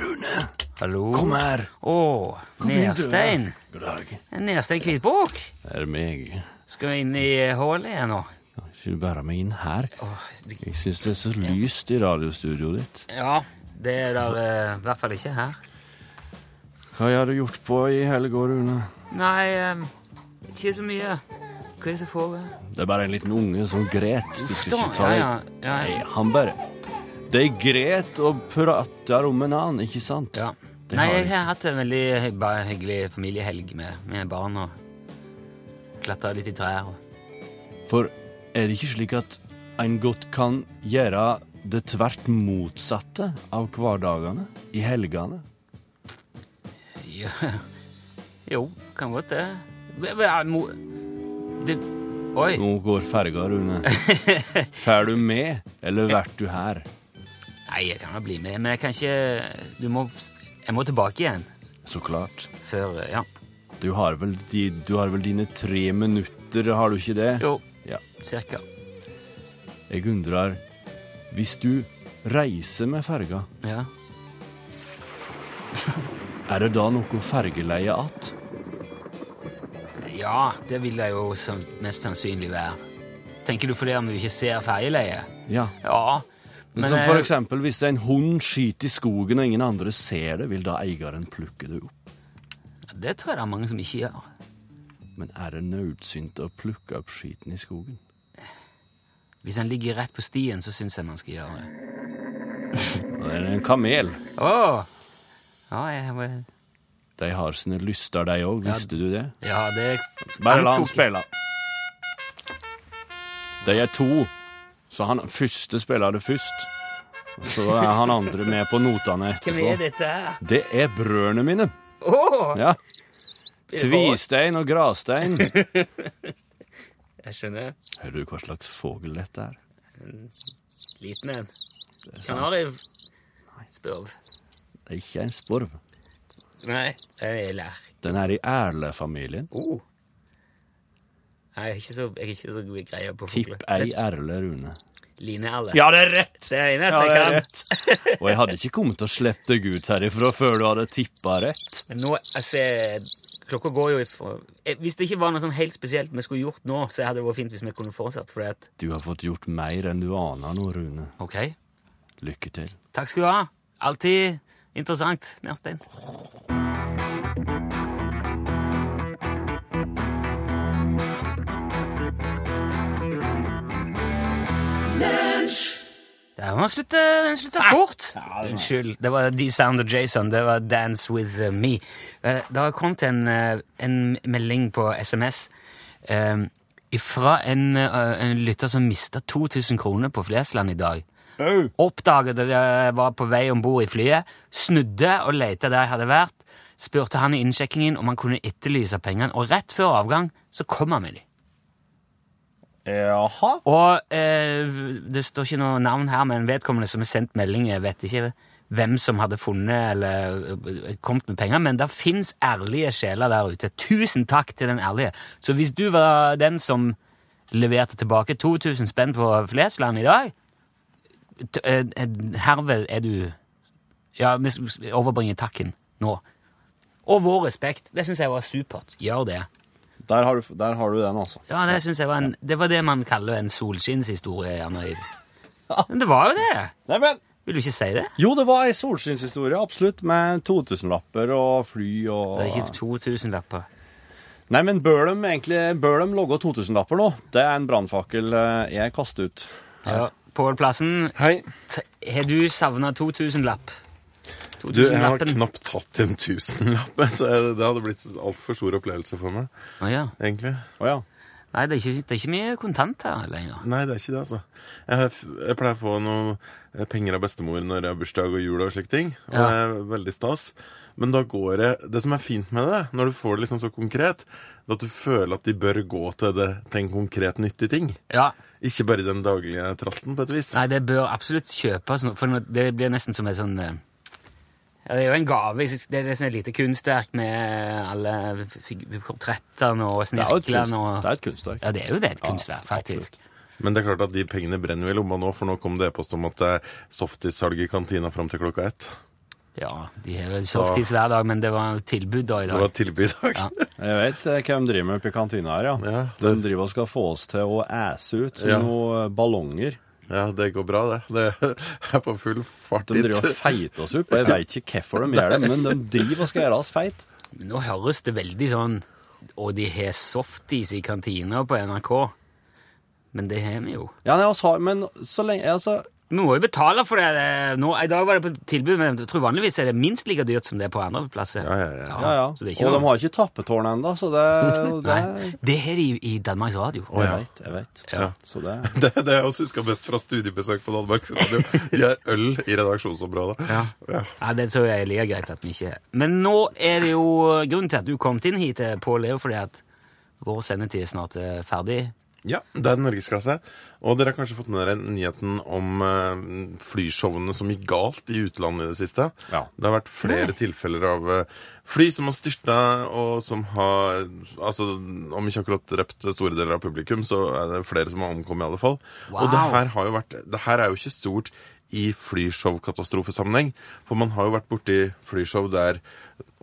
Speaker 3: Rune, Hallo. kom
Speaker 4: her.
Speaker 3: Å, Nerstein.
Speaker 4: God dag.
Speaker 3: Nerstein Kvitbukk.
Speaker 4: Er det meg?
Speaker 3: Skal vi inn i hullet igjen nå?
Speaker 4: Skal du bære meg inn her? Jeg syns det er så lyst i radiostudioet ditt.
Speaker 3: Ja, det er der eh, i hvert fall ikke her.
Speaker 4: Hva har du gjort på i helga, Rune?
Speaker 3: Nei, eh, ikke så mye. Hva er det som foregår?
Speaker 4: Det er bare en liten unge som gret. Du skal ikke ta
Speaker 3: ja, ja, ja.
Speaker 4: Han bare De gret og prater om en annen, ikke sant?
Speaker 3: Ja.
Speaker 4: Det
Speaker 3: Nei,
Speaker 4: har jeg
Speaker 3: jeg har
Speaker 4: ikke.
Speaker 3: hatt en veldig hy- bare hyggelig familiehelg med, med barn og klatra litt i trær. Og.
Speaker 4: For er det ikke slik at en godt kan gjøre det tvert motsatte av hverdagene i helgene?
Speaker 3: Ja. Jo, kan godt det. Hva- hva er mo- Det Oi.
Speaker 4: Nå går ferga,
Speaker 3: [laughs]
Speaker 4: Rune. Fær du med, eller vert du her?
Speaker 3: Nei, jeg kan vel bli med, men jeg kan ikke Du må Jeg må tilbake igjen
Speaker 4: Så klart.
Speaker 3: før Ja.
Speaker 4: Du har vel, de, du har vel dine tre minutter, har du ikke det?
Speaker 3: Jo,
Speaker 4: Ja.
Speaker 3: cirka.
Speaker 4: Jeg undrer, hvis du reiser med ferga,
Speaker 3: Ja.
Speaker 4: er det da noe fergeleie att?
Speaker 3: ja, det vil jeg jo som mest sannsynlig være. Tenker du fordi om du ikke ser ferjeleiet?
Speaker 4: Ja.
Speaker 3: Ja. Men,
Speaker 4: som for
Speaker 3: eh,
Speaker 4: eksempel hvis en hund skyter i skogen og ingen andre ser det, vil da eieren plukke det opp.
Speaker 3: det tror jeg det er mange som ikke gjør.
Speaker 4: Men er det nødsynt å plukke opp skiten i skogen?
Speaker 3: Hvis han ligger rett på stien, så syns jeg man skal gjøre det.
Speaker 4: Og Det er en kamel.
Speaker 3: Åh! Ja, jeg, var-
Speaker 4: De har sine lyster, de òg. Visste du det?
Speaker 3: ja, det
Speaker 4: Bare la han
Speaker 3: tok-
Speaker 4: spille. De er to, så han første spiller det først. Og så er han andre med på notene
Speaker 3: Hvem er
Speaker 4: etterpå.
Speaker 3: dette her?
Speaker 4: Det er brødrene mine.
Speaker 3: Åh!
Speaker 4: Ja.
Speaker 3: Det var-
Speaker 4: Tvistein og Grastein.
Speaker 3: Jeg skjønner.
Speaker 4: Hører du hva slags fugl dette er?
Speaker 3: Liten en.
Speaker 4: Det er, sant.
Speaker 3: Kanariv. Spurv.
Speaker 4: det er ikke en sporv.
Speaker 3: Nei, det er lær.
Speaker 4: Den er i Erle-familien.
Speaker 3: Oh. Nei, jeg er ikke så, jeg er ikke så god i greia på fugler.
Speaker 4: Tipp ei Erle, Rune.
Speaker 3: Lineerle.
Speaker 4: Ja, det er rett!
Speaker 3: Det er det
Speaker 4: Ja,
Speaker 3: eneste
Speaker 4: det er
Speaker 3: jeg kan.
Speaker 4: rett. Og jeg hadde ikke kommet til å slippe deg ut herifra før du hadde tippa rett.
Speaker 3: Men nå, altså, klokka går jo ifra Eh, Hvis det ikke var noe sånn helt spesielt vi skulle gjort nå, så hadde det vært fint hvis vi kunne fortsatt, fordi at
Speaker 4: Du har fått gjort mer enn du aner nå, Rune.
Speaker 3: Ok.
Speaker 4: Lykke til.
Speaker 3: Takk skal du ha. Alltid interessant, Nerstein. Der var slutt, den slutta fort. Unnskyld. Det var D-Sound og Jason. Det var Dance With eh, Me. Eh, Det har kommet en, eh, en melding på SMS eh, fra en, eh, en lytter som mista 2000 kroner på Flesland i dag. Oppdaget at jeg var på vei om bord i flyet, snudde og lette der jeg hadde vært. Spurte han i innsjekkingen om han kunne etterlyse pengene, og rett før avgang så kom han med dem.
Speaker 4: Jaha.
Speaker 3: Og eh, det står ikke noe navn her, men vedkommende som har sendt melding, jeg vet ikke hvem som hadde funnet eller eh, kommet med penger, men det fins ærlige sjeler der ute. Tusen takk til den ærlige. Så hvis du var den som leverte tilbake 2000 spenn på Flesland i dag, t- eh, eh, herved er du Ja, vi s- overbringer takken nå. Og vår respekt. Det syns jeg var supert. Gjør det.
Speaker 4: Der har, du, der har du den, altså.
Speaker 3: Ja, det synes jeg var en, det var det man kaller en solskinnshistorie. gjerne. Men det var jo det!
Speaker 4: Neimen
Speaker 3: Vil du ikke si det?
Speaker 4: Jo, det var ei solskinnshistorie, absolutt, med 2000-lapper og fly og
Speaker 3: Det er ikke 2000 lapper.
Speaker 4: Nei, men bør de egentlig bør de logge 2000-lapper nå? Det er en brannfakkel eh, jeg kaster ut.
Speaker 3: Ja. Pål Plassen,
Speaker 2: Hei.
Speaker 3: t- har du savna 2000-lapp?
Speaker 2: Du, jeg har
Speaker 3: 2000-lappen?
Speaker 2: knapt tatt en tusenlapp. Så jeg- det hadde blitt en altfor stor opplevelse for meg,
Speaker 3: Å, ja.
Speaker 2: egentlig.
Speaker 4: Å ja.
Speaker 3: Nei, det er, ikke, det er ikke mye kontant her lenger.
Speaker 2: Nei, det er ikke det, altså. Jeg, har f- jeg pleier å få noe eh, penger av bestemor når jeg har bursdag og jul og slike ting. Og
Speaker 3: Ja.
Speaker 2: det er veldig stas. Men da går det Det som er fint med det, når du får det liksom så konkret, det er at du føler at de bør gå til, det, til en konkret nyttig ting.
Speaker 3: Ja,
Speaker 2: Ikke bare den daglige tratten, på et vis.
Speaker 3: Nei, det bør absolutt kjøpes, nå, for nå- det blir nesten som en sånn eh, ja, Det er jo en gave. jeg synes Det er nesten et lite kunstverk med alle fig- portrettene og
Speaker 4: Det er jo et, kunst,
Speaker 3: snirklene og
Speaker 4: det er et kunstverk.
Speaker 3: Ja, det er jo det, et kunstverk, faktisk.
Speaker 2: Men det er klart at de pengene brenner jo i lomma nå, for nå kom det e-post om at det er softissalg i kantina fram til klokka ett.
Speaker 3: Ja, de har vel softis hver dag, men det var jo tilbud da i
Speaker 2: Det var
Speaker 3: dag.
Speaker 2: et tilbud i dag.
Speaker 3: Ja.
Speaker 4: Jeg vet eh, hva de driver med oppe i kantina her, ja.
Speaker 2: Ja,
Speaker 4: De driver og skal få oss til å æse ut
Speaker 2: Ja.
Speaker 4: noen eh, ballonger.
Speaker 2: Ja, det går bra, det. Det er på full fart
Speaker 4: De driver og feiter oss opp, og jeg veit ikke hvorfor de gjør det, men de driver og skal gjøre oss feit.
Speaker 3: Men Nå høres det veldig sånn Og de har softis i kantina på NRK. Men det har vi jo.
Speaker 4: Ja, nei, altså, men så lenge altså,
Speaker 3: Vi må jo betale for det. eh, Nå, I dag var det på tilbud, men jeg tror vanligvis er det minst like dyrt som det er på andre plasser.
Speaker 2: Ja, ja, ja.
Speaker 4: Ja, ja.
Speaker 3: Så det er ikke
Speaker 4: og de
Speaker 3: noe.
Speaker 4: har ikke tappetårn ennå, så det,
Speaker 3: [laughs]
Speaker 4: det
Speaker 3: Nei, det har de i Danmarks Radio.
Speaker 2: Å, ja.
Speaker 4: Jeg vet, jeg vet.
Speaker 3: Ja.
Speaker 4: Så det
Speaker 2: [laughs] Det er det jeg også husker best fra studiebesøk på Danmarks Radio. De har øl i redaksjonsområdet.
Speaker 3: Ja.
Speaker 2: Ja.
Speaker 3: Ja, det tror jeg er like greit at vi ikke er. Men nå er det jo grunnen til at du kom inn hit, eh, Pål, er jo fordi at vår sendetid snart er ferdig.
Speaker 2: Ja, det er norgesklasse. Og dere har kanskje fått med dere nyheten om eh, flyshowene som gikk galt i utlandet i det siste.
Speaker 4: Ja.
Speaker 2: Det har vært flere tilfeller av eh, fly som har styrta, og som har Altså, om ikke akkurat drept store deler av publikum, så er det flere som har omkommet i alle fall.
Speaker 3: Wow.
Speaker 2: Og det her har jo vært Det her er jo ikke stort i flyshow-katastrofesammenheng, for man har jo vært borti flyshow der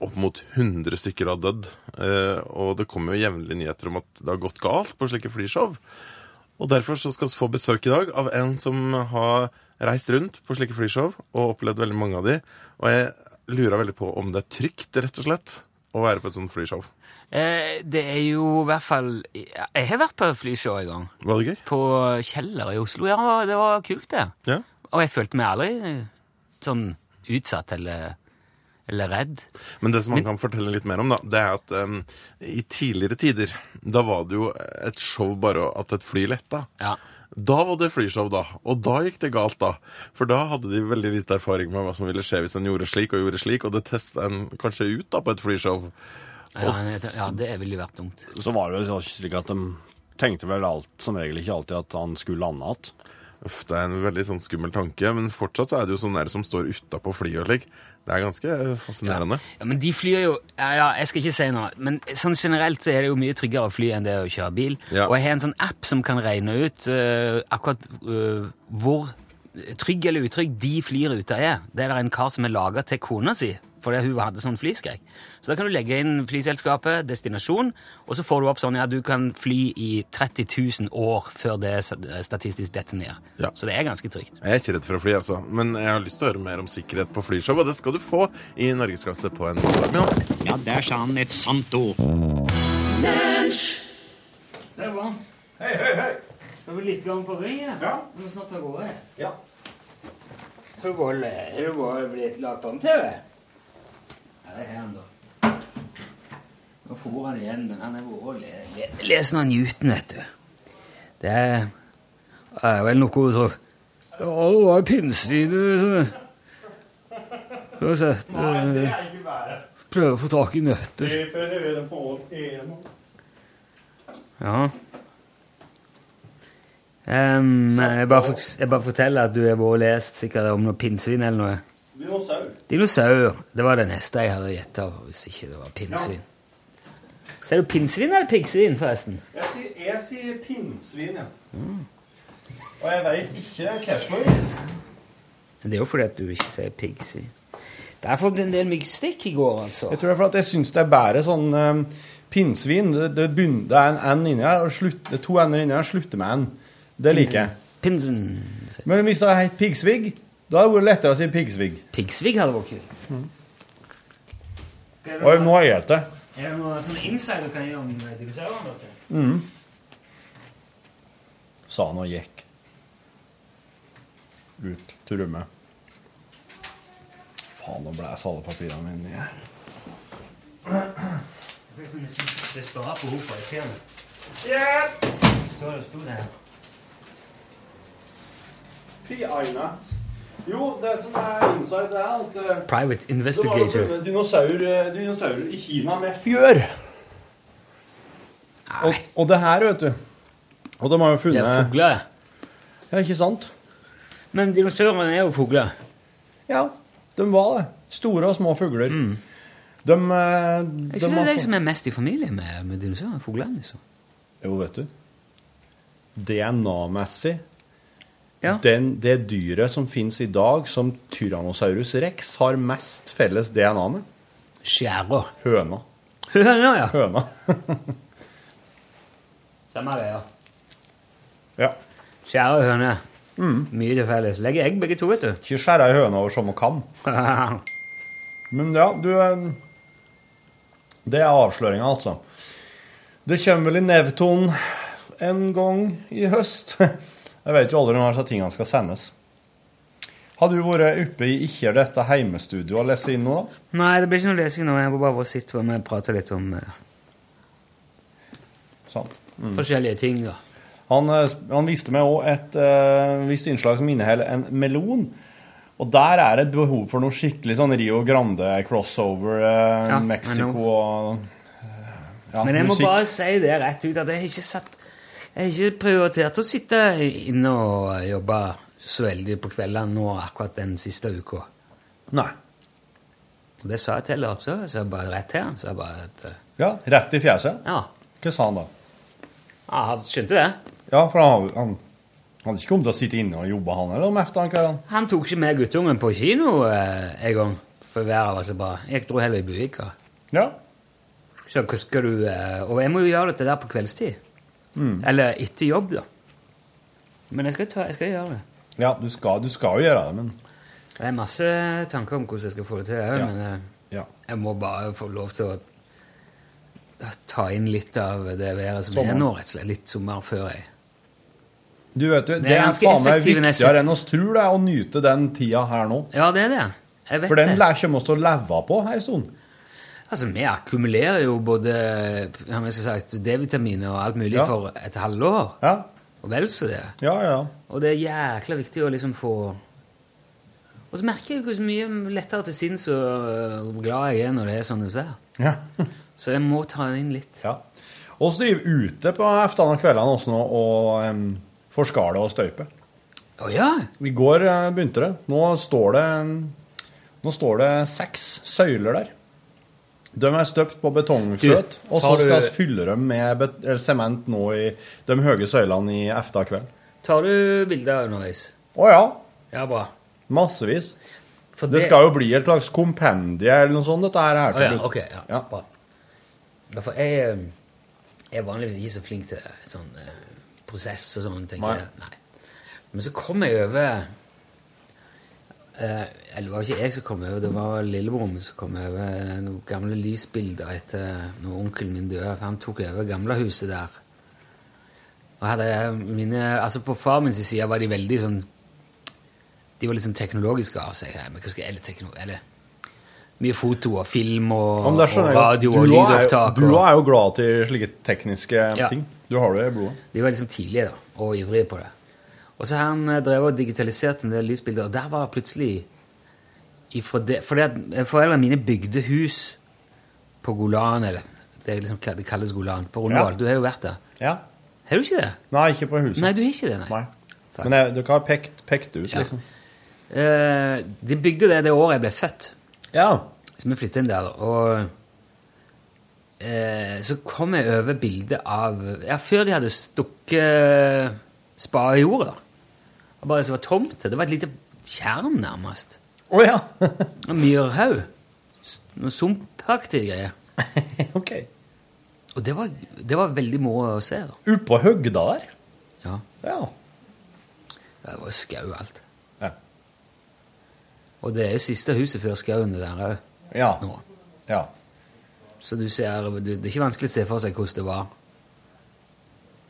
Speaker 2: opp mot 100 stykker har dødd, eh, og det kommer jo jevnlig nyheter om at det har gått galt på slike flyshow. Og derfor så skal vi få besøk i dag av en som har reist rundt på slike flyshow og opplevd veldig mange av de. Og jeg lurer veldig på om det er trygt, rett og slett, å være på et sånt flyshow.
Speaker 3: Eh, det er jo i hvert fall Jeg har vært på flyshow en gang.
Speaker 2: Var det gøy?
Speaker 3: På Kjeller i Oslo. Ja, det var kult, det.
Speaker 2: Ja.
Speaker 3: Og jeg følte meg aldri eh, sånn utsatt eller, eller redd.
Speaker 2: Men det som man kan fortelle litt mer om, da, det er at em, i tidligere tider, da var det jo et show bare at et fly letta.
Speaker 3: Ja.
Speaker 2: Da var det flyshow, da. Og da gikk det galt, da. For da hadde de veldig lite erfaring med hva som ville skje hvis en gjorde slik og gjorde slik, og det testa en kanskje ut da på et flyshow.
Speaker 3: Ja, ja, det ville jo vært dumt.
Speaker 4: Så var det jo slik at de tenkte vel alt, som regel ikke alltid at han skulle lande igjen.
Speaker 2: Uff, det er en veldig sånn skummel tanke, men fortsatt så er det jo sånne der som står utapå flyet og slik. Det er ganske fascinerende.
Speaker 3: Ja, men de flyr jo ja, ja, Jeg skal ikke si noe, men sånn generelt så er det jo mye tryggere å fly enn det å kjøre bil.
Speaker 2: Ja.
Speaker 3: Og jeg har en sånn app som kan regne ut eh, akkurat eh, hvor trygg eller utrygg de flyruta er. Det er det en kar som har laga til kona si fordi hun hadde sånn flyskrekk. Så da kan du legge inn flyselskapet, destinasjon, og så får du opp sånn ja, du kan fly i 30 000 år før det statistisk detter ned.
Speaker 2: Ja.
Speaker 3: Så det er ganske trygt.
Speaker 2: Jeg er ikke redd for å fly, altså, men jeg har lyst til å høre mer om sikkerhet på flyshow, og det skal du få i Norgesklasse på en måndag. Men nå-
Speaker 8: Ja, der sa han et sant ord.
Speaker 3: Der var han. Hei, hei, hei! Det var litt grann på ringen. Ja. Vi må snart av gårde. Ja. Har du bare blitt lagt om til? Ja, det er han da. Nå for han igjen, men han er bare le- le- Les noen Newton, vet du. Det er, er vel noe så... Ja, det var pinnslivet som... Skal vi se. Prøve å få tak i nøtter. Ja. Ehm, jeg, bare for, jeg bare forteller at du har vært og lest sikkert om noe pinnsvin eller noe. Dinosaur. Det var det neste jeg hadde gjetta hvis ikke det var pinnsvin. Ser du pinnsvin eller piggsvin, forresten?
Speaker 9: Jeg sier, jeg sier pinnsvin, ja. Og jeg veit ikke hvilken.
Speaker 3: Men det er jo fordi at du ikke sier piggsvin. Det er fått en del myggstikk i går, altså.
Speaker 9: Jeg tror det er for at jeg syns det er bedre sånn um, pinnsvin. Det, det, begynner, det er en N inni her, og slutt, det er to N-er inni her, og slutter med N. Det liker
Speaker 3: Mm.
Speaker 9: jeg.
Speaker 3: Pinnsvin
Speaker 9: Men hvis det het piggsvig, da hadde det vært lettere å si piggsvig.
Speaker 3: Piggsvig hadde vært kult.
Speaker 9: Og nå har jeg spist det.
Speaker 3: Er det noe sånn insight du kan gi om eh, dinosaurene?
Speaker 4: Sa han og gikk ut til rommet. Faen, nå blæs alle papirene mine inni her.
Speaker 3: Jeg fikk nesten desperat behov for et fjell. Så det sto der.
Speaker 9: P.I.Nat. Jo, det som er inside, det er at eh,
Speaker 3: Private
Speaker 9: Det var jo
Speaker 3: investigator.
Speaker 9: funnet dinosaur, eh, dinosaurer i Kina med fjør. Og, og det her, vet du Og de har jo
Speaker 3: Det
Speaker 9: funnet
Speaker 3: er fugler.
Speaker 9: Ja, ikke sant?
Speaker 3: Men dinosaurene er jo fugler.
Speaker 9: Ja, de var det. Store og små fugler. De, eh,
Speaker 3: Er
Speaker 9: de
Speaker 3: ikke det
Speaker 9: har
Speaker 3: de
Speaker 9: fått-
Speaker 3: som er mest i familie med, med dinosaurene? Fuglene, liksom.
Speaker 9: Jo, vet du. DNA-messig
Speaker 3: Ja.
Speaker 9: den- Det dyret som fins i dag som Tyrannosaurus rex, har mest felles DNA med.
Speaker 3: Skjæra.
Speaker 9: Høna.
Speaker 3: Høna, ja.
Speaker 9: Høna. [laughs]
Speaker 3: Samme greia.
Speaker 9: ja.
Speaker 3: Skjæra og høne. Mye til felles. Legger egg, begge to, vet du.
Speaker 9: Ikke skjære ei høne over som hun kan.
Speaker 3: ja,
Speaker 9: Men ja, du eh, Det er avsløringa, altså. Det kommer vel i Nevton
Speaker 5: [laughs]
Speaker 9: en gang i høst. Jeg vet jo aldri når disse tingene skal sendes.
Speaker 4: Har du vært oppe i ikke dette heimestudioet og lest inn nå?
Speaker 3: [laughs] Nei, det blir ikke noe lesing nå. Jeg må bare sitte med og prate litt om eh,
Speaker 4: Sant.
Speaker 3: Mm. forskjellige ting. da.
Speaker 4: Han, eh, sp- han viste meg òg et eh, visst innslag som inneholder en melon. Og der er det behov for noe skikkelig sånn Rio Grande crossover, eh,
Speaker 3: Ja,
Speaker 4: Mexico
Speaker 3: I
Speaker 4: og eh, ja,
Speaker 3: Men jeg må
Speaker 4: musikk.
Speaker 3: bare si det rett ut at jeg har ikke satt Jeg har ikke prioritert å sitte inne og jobbe så veldig på kveldene nå akkurat den siste uka.
Speaker 4: Nei.
Speaker 3: Og det sa jeg til Lars òg. Så jeg bare rett til han. Så jeg bare at, eh,
Speaker 4: Ja, rett i fjeset.
Speaker 3: Ja,
Speaker 4: Hva sa han da?
Speaker 3: Ja, han skjønte det.
Speaker 4: Ja, for han, han, han hadde ikke kommet til å sitte inne og jobbe, han eller om efter han kan.
Speaker 3: Han tok ikke med guttungen på kino eh, en gang. For været var så bra. Jeg dro heller i Buvika.
Speaker 4: Ja.
Speaker 3: Så hva skal du eh, Og jeg må jo gjøre dette der på kveldstid.
Speaker 4: Mm.
Speaker 3: Eller etter jobb, da. Men jeg skal, ta, jeg skal gjøre det.
Speaker 4: Ja, du skal, du skal jo gjøre det, men
Speaker 3: Det er masse tanker om hvordan jeg skal få det til.
Speaker 4: Ja.
Speaker 3: Men eh,
Speaker 4: ja.
Speaker 3: jeg må bare få lov til å ta inn litt av det været som
Speaker 4: Sommer.
Speaker 3: er nå, rett og slett. Litt sommer før jeg
Speaker 4: Du vet jo, det er
Speaker 3: ganske
Speaker 4: faen meg
Speaker 3: effektiv nesten.
Speaker 4: viktigere enn oss tror det er å nyte den tida her nå.
Speaker 3: Ja, det er det. Jeg vet
Speaker 4: For den
Speaker 3: det.
Speaker 4: lær- kommer oss til å leve på her en stund.
Speaker 3: Altså, Vi akkumulerer jo både ja, men som sagt, D-vitaminer og alt mulig
Speaker 4: Ja.
Speaker 3: for et halvår.
Speaker 4: Ja,
Speaker 3: Og vel så det.
Speaker 4: ja, ja.
Speaker 3: Og det er jækla viktig å liksom få Og så merker jeg jo hvor mye lettere til sinns og øh, glad jeg er når det er sånn vær.
Speaker 4: Ja.
Speaker 3: Så jeg må ta det inn litt.
Speaker 4: ja. Oss driver ute på eftene og kveldene også nå og um, forskale og støype.
Speaker 3: Å ja!
Speaker 4: I går eh, begynte det. Nå står det, nå står det seks søyler der. De er støpt på betongfløt,
Speaker 3: Du,
Speaker 4: og så
Speaker 3: tar du-
Speaker 4: skal vi fylle dem med bet- eller sement nå i de høye søylene i efter kveld.
Speaker 3: Tar du bilder underveis?
Speaker 4: Å ja,
Speaker 3: Ja, bra.
Speaker 4: massevis.
Speaker 3: For
Speaker 4: Det skal jo bli et slags kompendie eller noe sånt, dette her.
Speaker 3: Å
Speaker 4: her til
Speaker 3: ja,
Speaker 4: slutt.
Speaker 3: ok. Ja,
Speaker 4: Ja.
Speaker 3: Bra. Ja, for jeg eh, er vanligvis ikke så flink til sånn eh, prosess og sånn. tenker
Speaker 4: Nei.
Speaker 3: jeg. Nei. Men så kom jeg over eh, Eller det var ikke jeg som kom over, det var lillebroren min som kom over eh, noen gamle lysbilder etter når onkelen min døde. For han tok over gamlehuset der. Og hadde mine, altså På far min sin side var de veldig sånn De var litt sånn teknologiske av seg. men hva skal jeg- Eller, tekno, eller mye foto og film og,
Speaker 4: Ja, men det
Speaker 3: og
Speaker 4: skjønner jeg godt.
Speaker 3: radio og
Speaker 4: Du er jo-
Speaker 3: lydopptak.
Speaker 4: Du
Speaker 3: og-
Speaker 4: er jo glad til slike tekniske
Speaker 3: Ja.
Speaker 4: ting. Du har det i blodet.
Speaker 3: De var liksom tidlige da, og ivrige på det. Og så har han eh, drevet og digitalisert en del lysbilder, og der var det plutselig ifra det, Fordi at eh, foreldrene mine bygde hus på Golan, eller det, er liksom, det kalles Golan, på Rundvål.
Speaker 4: Ja.
Speaker 3: Du har jo vært der.
Speaker 4: Ja.
Speaker 3: Har du ikke det?
Speaker 4: Nei, ikke på huset.
Speaker 3: Nei, du har ikke det, nei.
Speaker 4: Nei.
Speaker 3: Takk.
Speaker 4: Men jeg, dere har pekt, pekt ut,
Speaker 3: Ja.
Speaker 4: liksom.
Speaker 3: Eh, de bygde det det året jeg ble født.
Speaker 4: Ja.
Speaker 3: Så vi flytta inn der, og eh, så kom jeg over bildet av Ja, før de hadde stukket spaden i jorda. Og bare det som var tomt. Det var et lite tjern, nærmest.
Speaker 4: Å ja. [laughs]
Speaker 3: Og myrhaug. S- Noe sumpaktige greier.
Speaker 4: [laughs] ok.
Speaker 3: Og det var, det var veldig moro å se. da.
Speaker 4: Oppå høgda der.
Speaker 3: Ja,
Speaker 4: Ja.
Speaker 3: Det var jo skau alt.
Speaker 4: Ja.
Speaker 3: Og det er jo siste huset før skauen det der òg.
Speaker 4: Ja.
Speaker 3: nå.
Speaker 4: ja.
Speaker 3: Så du ser, du, det er ikke vanskelig å se for seg hvordan det var.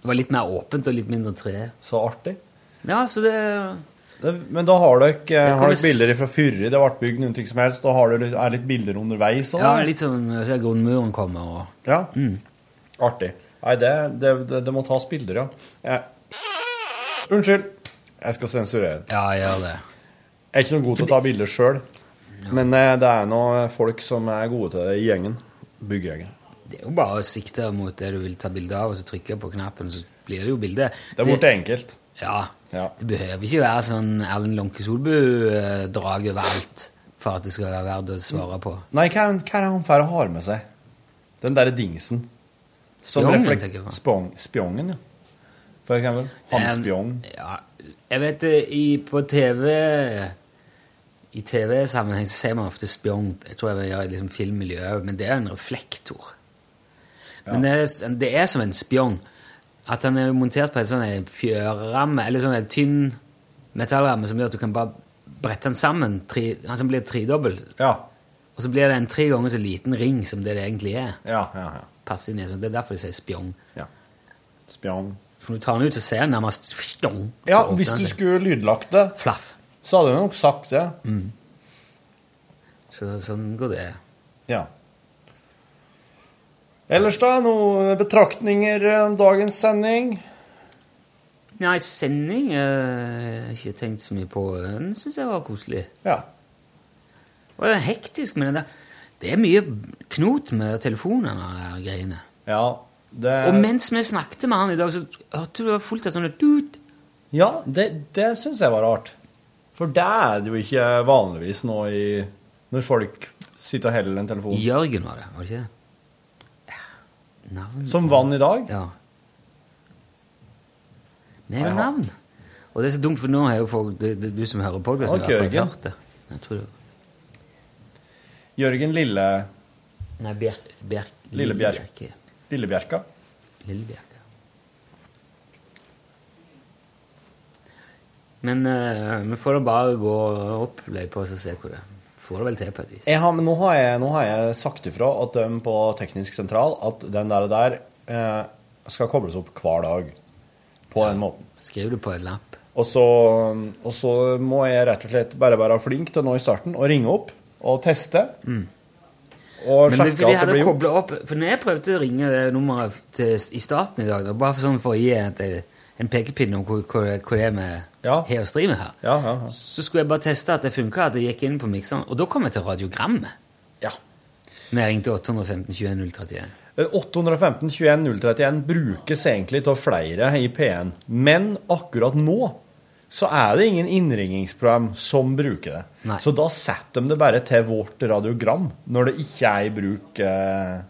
Speaker 3: Det var litt mer åpent og litt mindre tre.
Speaker 4: Så artig.
Speaker 3: Ja, så det
Speaker 4: Det, men da har dere, eh,
Speaker 3: kan
Speaker 4: har
Speaker 3: vi
Speaker 4: dere
Speaker 3: s-
Speaker 4: bilder fra Fyrre, det ble bygd noe som helst, da har dere litt, er litt bilder underveis også,
Speaker 3: Ja,
Speaker 4: eller?
Speaker 3: litt sånn eh, ser grunnmuren kommer og
Speaker 4: Ja. Artig. Nei, det, det, det, det må tas bilder, ja. Jeg... Unnskyld. Jeg skal sensurere.
Speaker 3: Ja, gjør det.
Speaker 4: Jeg er ikke noe god til å ta bilder sjøl, men eh, det er nå folk som er gode til det i gjengen. Byggegjengen.
Speaker 3: Det er jo bare å sikte mot det du vil ta bilde av, og så trykke på knappen, så blir det jo bilde.
Speaker 4: Det er blitt enkelt.
Speaker 3: Ja.
Speaker 4: Ja.
Speaker 3: Det behøver ikke være sånn Erlend eh, Lånke Solbu-drag overalt for at det skal være verdt å svare på.
Speaker 4: Nei, hva er han- hva er det han færre har med seg? Den derre dingsen. Som
Speaker 3: Spjongen,
Speaker 4: reflek-
Speaker 3: tenker jeg på.
Speaker 4: Spong, spjongen, ja. For eksempel. Han spjong.
Speaker 3: Eh, Ja, jeg vet det, i, på TV I TV-sammenheng så ser man ofte spjong. Jeg tror jeg vil gjøre i liksom filmmiljøet òg, men det er en reflektor. Men det er, s- det er som en spjong. At den er montert på en sånn en fjørramme, eller sånn en tynn metallramme som gjør at du kan bare brette den sammen. Tre, altså den blir tredobbel.
Speaker 4: Ja,
Speaker 3: Og så blir det en tre ganger så liten ring som det det egentlig er.
Speaker 4: ja, ja. ja.
Speaker 3: Passer inn i en sånn. Det er derfor de sier spjong.
Speaker 4: ja. Spjong.
Speaker 3: For når du tar den ut, så ser den nærmest spjong.
Speaker 4: Ja,
Speaker 3: Så åpner
Speaker 4: hvis
Speaker 3: den
Speaker 4: du
Speaker 3: seg.
Speaker 4: skulle lydlagt det,
Speaker 3: Flaff. Mm.
Speaker 4: så hadde de nok sagt det.
Speaker 3: Så, sånn går det.
Speaker 4: Ja. Ellers, da? Noen betraktninger eh, om dagens sending?
Speaker 3: Nei, sending eh, Ikke tenkt så mye på den. Syns jeg var koselig.
Speaker 4: Ja.
Speaker 3: Det var hektisk med det der. Det er mye knot med telefonene og de her greiene.
Speaker 4: Ja, det
Speaker 3: Og mens vi snakket med han i dag, så hørte du det var fullt av sånne dut.
Speaker 4: Ja, det, det syns jeg var rart. For det er det jo ikke vanligvis nå i Når folk sitter og heller en telefon.
Speaker 3: Jørgen var det, var det ikke det? Ja, Navn
Speaker 4: Som vann i dag?
Speaker 3: Ja. Med navn. Og det er så dumt, for nå har jo folk det, det, Du som hører på, det,
Speaker 4: Ok,
Speaker 3: har akkurat
Speaker 4: Jørgen.
Speaker 3: hørt det. Jeg tror det
Speaker 4: Jørgen Lille,
Speaker 3: Nei, Bjerk... Bjerk
Speaker 4: Lille Bjerk. Lillebjerka.
Speaker 3: Lillebjerk, ja. Men eh, vi får da bare gå opp løypa og så se hvor det er. Får det vel til på et vis.
Speaker 4: Jeg har, men nå har jeg, nå har jeg sagt ifra at de på Teknisk sentral at den der, og der eh, skal kobles opp hver dag. På den måten.
Speaker 3: Skriv det på en lapp.
Speaker 4: Og så, og så må jeg rett og slett bare være flink til nå i starten å ringe opp og teste. Og
Speaker 3: Mm. Men det, for de
Speaker 4: sjekke at det
Speaker 3: hadde
Speaker 4: blir gjort.
Speaker 3: koblet opp For når jeg prøvde å ringe det nummeret til, i starten i dag, da, bare for, sånn for å gi et, en pekepinne om hvor, hvor, hvor det er vi
Speaker 4: Ja.
Speaker 3: har å stri med her,
Speaker 4: Ja, ja, ja.
Speaker 3: så skulle jeg bare teste at det funka, at det gikk inn på mikseren. Og da kom jeg til radiogrammet.
Speaker 4: Ja. Eh,
Speaker 3: Når jeg ringte 815 21 031.
Speaker 4: 815 21 031 brukes egentlig av flere i P1, men akkurat nå så er det ingen innringingsprogram som bruker det.
Speaker 3: Nei.
Speaker 4: Så da setter de det bare til vårt radiogram, når det ikke er i bruk eh,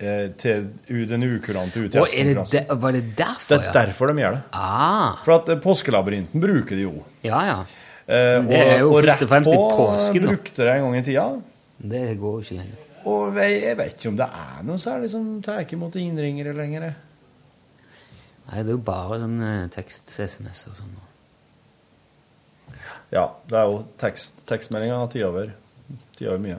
Speaker 4: eh, til u- den ukurante
Speaker 3: Å, er det
Speaker 4: UTS-konkurransen.
Speaker 3: der- var det
Speaker 4: Det
Speaker 3: derfor,
Speaker 4: er
Speaker 3: ja?
Speaker 4: derfor de gjør det.
Speaker 3: Ah,
Speaker 4: For at eh, Påskelabyrinten bruker de jo.
Speaker 3: ja, ja.
Speaker 4: Eh,
Speaker 3: Det er jo
Speaker 4: og, og
Speaker 3: først
Speaker 4: rett
Speaker 3: og
Speaker 4: på
Speaker 3: fremst i påsken, da.
Speaker 4: brukte det en gang i tida.
Speaker 3: Det går jo ikke lenger.
Speaker 4: Og jeg, jeg vet ikke om det er noe særlig som tar ikke imot innringere lenger. jeg.
Speaker 3: Nei, det er jo bare sånn eh, tekst-SMS og sånn.
Speaker 4: Ja, det er jo tekst, tekstmeldinga har tid over. Tid over mye.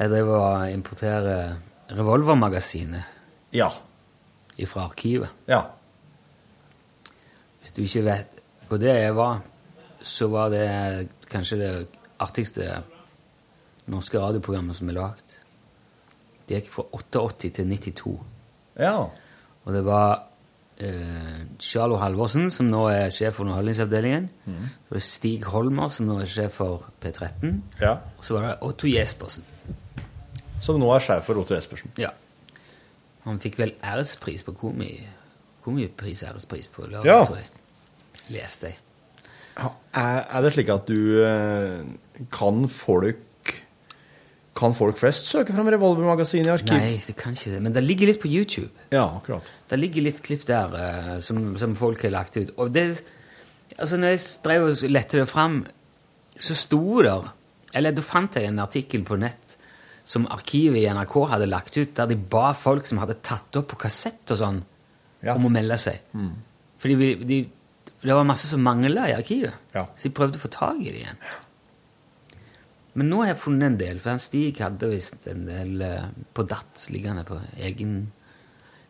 Speaker 3: Jeg driver og importerer Revolvermagasinet
Speaker 4: Ja.
Speaker 3: fra arkivet.
Speaker 4: Ja.
Speaker 3: Hvis du ikke vet hva det er, var, så var det kanskje det artigste norske radioprogrammet som er lagd. Det gikk fra 88 til 92.
Speaker 4: Ja.
Speaker 3: Og det var eh, Charlo Halvorsen, som nå er sjef for Underholdningsavdelingen. Så var det Stig Holmer, som nå er sjef for P13.
Speaker 4: ja.
Speaker 3: Og så var det Otto Jespersen.
Speaker 4: Som nå er sjef for Otto Jespersen.
Speaker 3: Ja. Han fikk vel ærespris på komi... Komipris, ærespris på lørdag,
Speaker 4: Ja.
Speaker 3: tror jeg. Leste jeg.
Speaker 4: Er, er det slik at du eh, Kan folk Kan folk flest søke fram Revolvermagasinet i arkiv?
Speaker 3: Nei, det kan ikke det. Men det ligger litt på YouTube.
Speaker 4: Ja, akkurat.
Speaker 3: Det ligger litt klipp der eh, som, som folk har lagt ut. Og det, altså når jeg drev og lette det fram, så sto der Eller da fant jeg en artikkel på nett som arkivet i NRK hadde lagt ut, der de ba folk som hadde tatt opp på kassett og sånn,
Speaker 4: Ja. Mm.
Speaker 3: om å melde seg. Fordi vi, de, det var masse som mangla i arkivet,
Speaker 4: Ja.
Speaker 3: så de prøvde å få tak i det igjen. Men nå har jeg funnet en del, for han Stig hadde visst en del eh, på datt liggende på egen,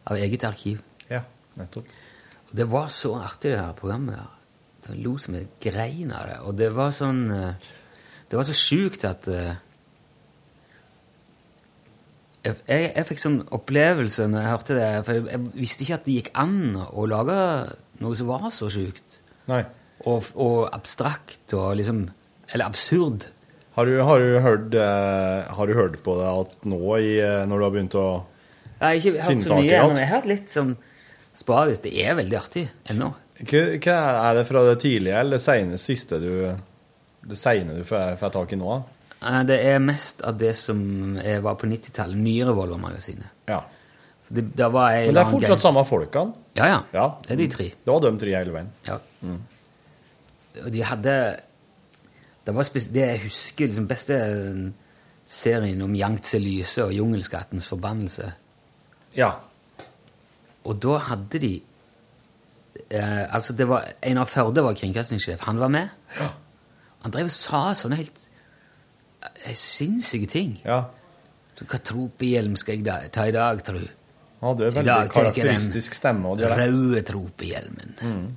Speaker 3: av eget arkiv.
Speaker 4: Ja, nettopp.
Speaker 3: Og det var så artig, det her programmet der. Det lo som et grein av det. Og det var sånn eh, Det var så sjukt at eh, jeg, jeg, jeg fikk sånn opplevelse når jeg hørte det, for jeg, jeg visste ikke at det gikk an å lage noe som var så sjukt.
Speaker 4: Nei.
Speaker 3: Og, og abstrakt og liksom Eller absurd.
Speaker 4: Har du, har, du hørt, eh, har du hørt på det at nå i, eh, når du har begynt å
Speaker 3: Jeg har ikke hørt så
Speaker 4: Finne tak i
Speaker 3: mye,
Speaker 4: alt.
Speaker 3: men jeg har hørt litt sånn sporadisk. Det er veldig artig ennå.
Speaker 4: Hva, hva er det fra det tidlige eller det sene siste du Det sene du får, får tak i nå? da?
Speaker 3: Eh, Det er mest av det som eh, var på 90-tallet. Nye Revolver-magasinet.
Speaker 4: Ja.
Speaker 3: Det, da var jeg
Speaker 4: Men det er fortsatt samme folkene.
Speaker 3: Ja, ja,
Speaker 4: Ja. Mm.
Speaker 3: Det er de tre.
Speaker 4: Det var de tre hele veien.
Speaker 3: Ja. Og de hadde Det var spes det jeg husker liksom beste serien om Yangtze Lyse og jungelskattens forbannelse.
Speaker 4: Ja.
Speaker 3: Og da hadde de eh, Altså, det var Einar Førde var kringkastingssjef. Han var med. Han drev og sa sånne helt eh, sinnssyke ting.
Speaker 4: ja.
Speaker 3: Så hva tropehjelm skal jeg da, ta i dag, tru?
Speaker 4: Han hadde
Speaker 3: I
Speaker 4: veldig
Speaker 3: dag tar jeg den
Speaker 4: karakteristisk stemme og dialekt.
Speaker 3: Røde tropehjelmen.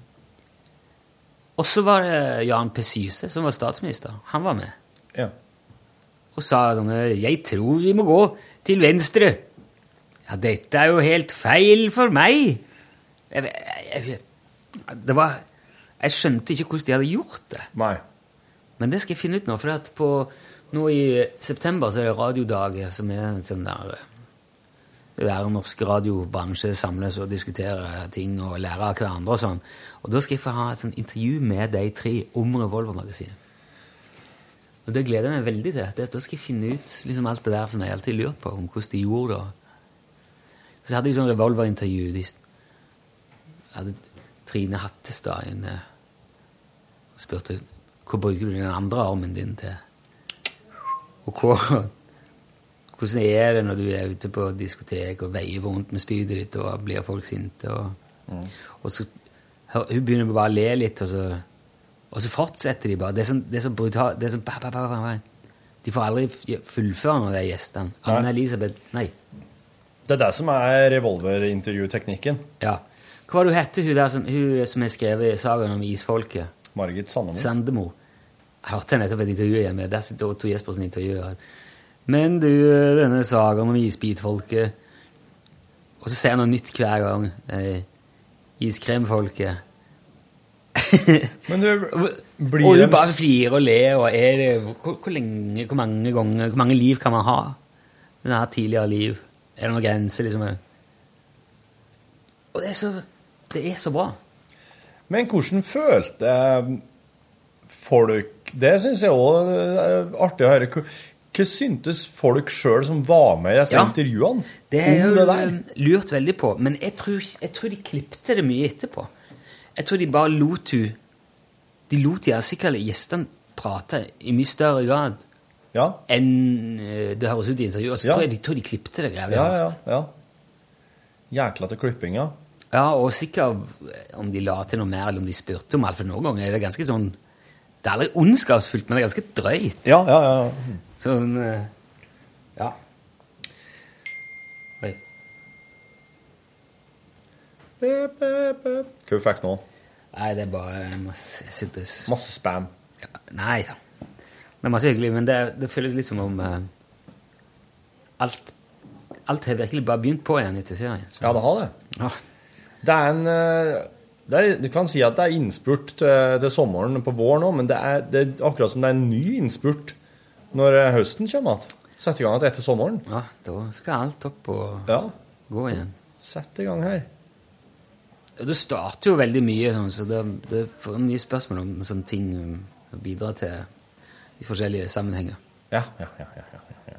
Speaker 3: Og så var det Jan Pessyse, som var statsminister. Han var med.
Speaker 4: Ja.
Speaker 3: Og sa sånn 'Jeg tror vi må gå til venstre'. 'Ja, dette er jo helt feil for meg'. Jeg, jeg, jeg, det var Jeg skjønte ikke hvordan de hadde gjort det.
Speaker 4: Nei.
Speaker 3: Men det skal jeg finne ut nå, for at på, nå i september så er det radiodag, som er en sånn der Det der norsk radiobransje samles og diskuterer ting og lærer av hverandre og sånn. Og da skal jeg få ha et sånt intervju med de tre om Revolvermagasinet. Og det gleder jeg meg veldig til. Det, da skal jeg finne ut liksom alt det der som jeg alltid lurer på, om hvordan de gjorde det. Så hadde vi sånn revolverintervju. De s- hadde Trine Hattestad eh, inne og spurte hva bruker du den andre armen din til. Og hva, hvordan er det når du er ute på diskotek og veier vondt med spydet ditt, og blir folk sinte? Og, og så, hø- hun begynner bare å le litt, og så, og så fortsetter de bare. Det er sånn, det er sånn brutalt. Det er sånn, ba, ba, ba, ba, ba. De får aldri f- fullføre noen av de gjestene. Anne-Elisabeth Nei.
Speaker 4: Det er det som er revolverintervjuteknikken.
Speaker 3: Ja. Hva var det hun hette, hun der som, hun som har skrevet sagaen om isfolket?
Speaker 4: Margit Sandemo.
Speaker 3: Sandemo. Jeg hørte nettopp et intervju igjen med Der sitter Otto Jespersen intervjuer. Men du, denne sagaen om isbitfolket Og så ser jeg noe nytt hver gang. Eh, iskremfolket.
Speaker 4: Men du, blir
Speaker 3: og
Speaker 4: dem
Speaker 3: hun bare
Speaker 4: s-
Speaker 3: flirer og ler og er det hvor, hvor lenge, hvor mange ganger, hvor mange liv kan man ha? Hun har hatt tidligere liv. Er det noen grenser, liksom? Og det er så, det er så bra.
Speaker 4: Men hvordan følte eh, folk Det syns jeg òg er artig å høre. Hva- Hva syntes folk sjøl som var med i disse
Speaker 3: Ja.
Speaker 4: intervjuene?
Speaker 3: Det er
Speaker 4: om
Speaker 3: jo
Speaker 4: det der?
Speaker 3: eh, lurt veldig på, men jeg tror, ikke- jeg tror de klippte det mye etterpå. Jeg tror de bare lot hun De lot de sikkert gjestene prate i mye større grad
Speaker 4: Ja,
Speaker 3: enn eh, det høres ut i intervjuet. Og så
Speaker 4: Ja.
Speaker 3: tror jeg de, tror de klippte det jævlig
Speaker 4: ja, ja.
Speaker 3: hardt.
Speaker 4: ja. Jækla til klippinga.
Speaker 3: Ja, og sikkert om de la til noe mer, eller om de spurte om alt, for noen ganger er det ganske sånn Det er aldri ondskapsfullt, men det er ganske drøyt.
Speaker 4: Ja, ja, ja.
Speaker 3: Sånn eh, Ja. Oi.
Speaker 4: Bæ, bæ, bæ. Hva fikk du nå?
Speaker 3: Nei, det er bare jeg må s- Jeg sitter s-
Speaker 4: Masse spam.
Speaker 3: Ja, Nei da. Det er masse hyggelig, men det, det føles litt som om eh, alt, alt har virkelig bare begynt på igjen etter serien. Så,
Speaker 4: Ja, det har det.
Speaker 3: ja.
Speaker 4: Det er en eh, det er, Du kan si at det er innspurt til, til sommeren på våren òg, men det er, det er akkurat som det er en ny innspurt når eh, høsten kommer igjen. Sett i gang igjen etter sommeren.
Speaker 3: ja, da skal alt opp og
Speaker 4: Ja,
Speaker 3: gå igjen.
Speaker 4: sett i gang her.
Speaker 3: Og Du starter jo veldig mye, sånn, så det, det er mye spørsmål om sånne ting um, å bidra til i forskjellige sammenhenger.
Speaker 4: Ja, ja, ja. ja, ja, ja.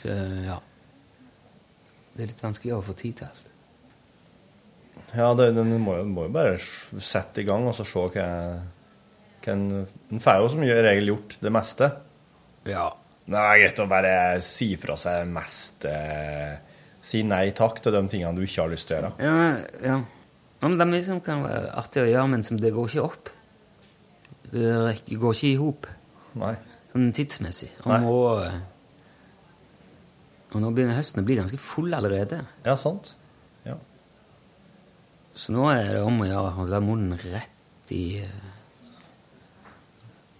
Speaker 3: Så ja. Det er litt vanskelig å få tid til alt.
Speaker 4: ja det, den må, jo- må jo bare s- sette i gang og så se hva hva en En får jo som regel gjort det meste.
Speaker 3: Ja.
Speaker 4: Det er greit å bare si fra seg mest eh, Si nei takk til de tingene du ikke har lyst til å gjøre.
Speaker 3: Ja, ja. Ja, men det er mye som kan være artig å gjøre, men som det går ikke opp. Det rekker- går ikke i hop.
Speaker 4: Nei.
Speaker 3: Sånn tidsmessig. Og
Speaker 4: Nei.
Speaker 3: nå, eh, og nå begynner høsten å bli ganske full allerede.
Speaker 4: Ja, sant. Ja.
Speaker 3: Så nå er det om å gjøre å holde munnen rett i eh,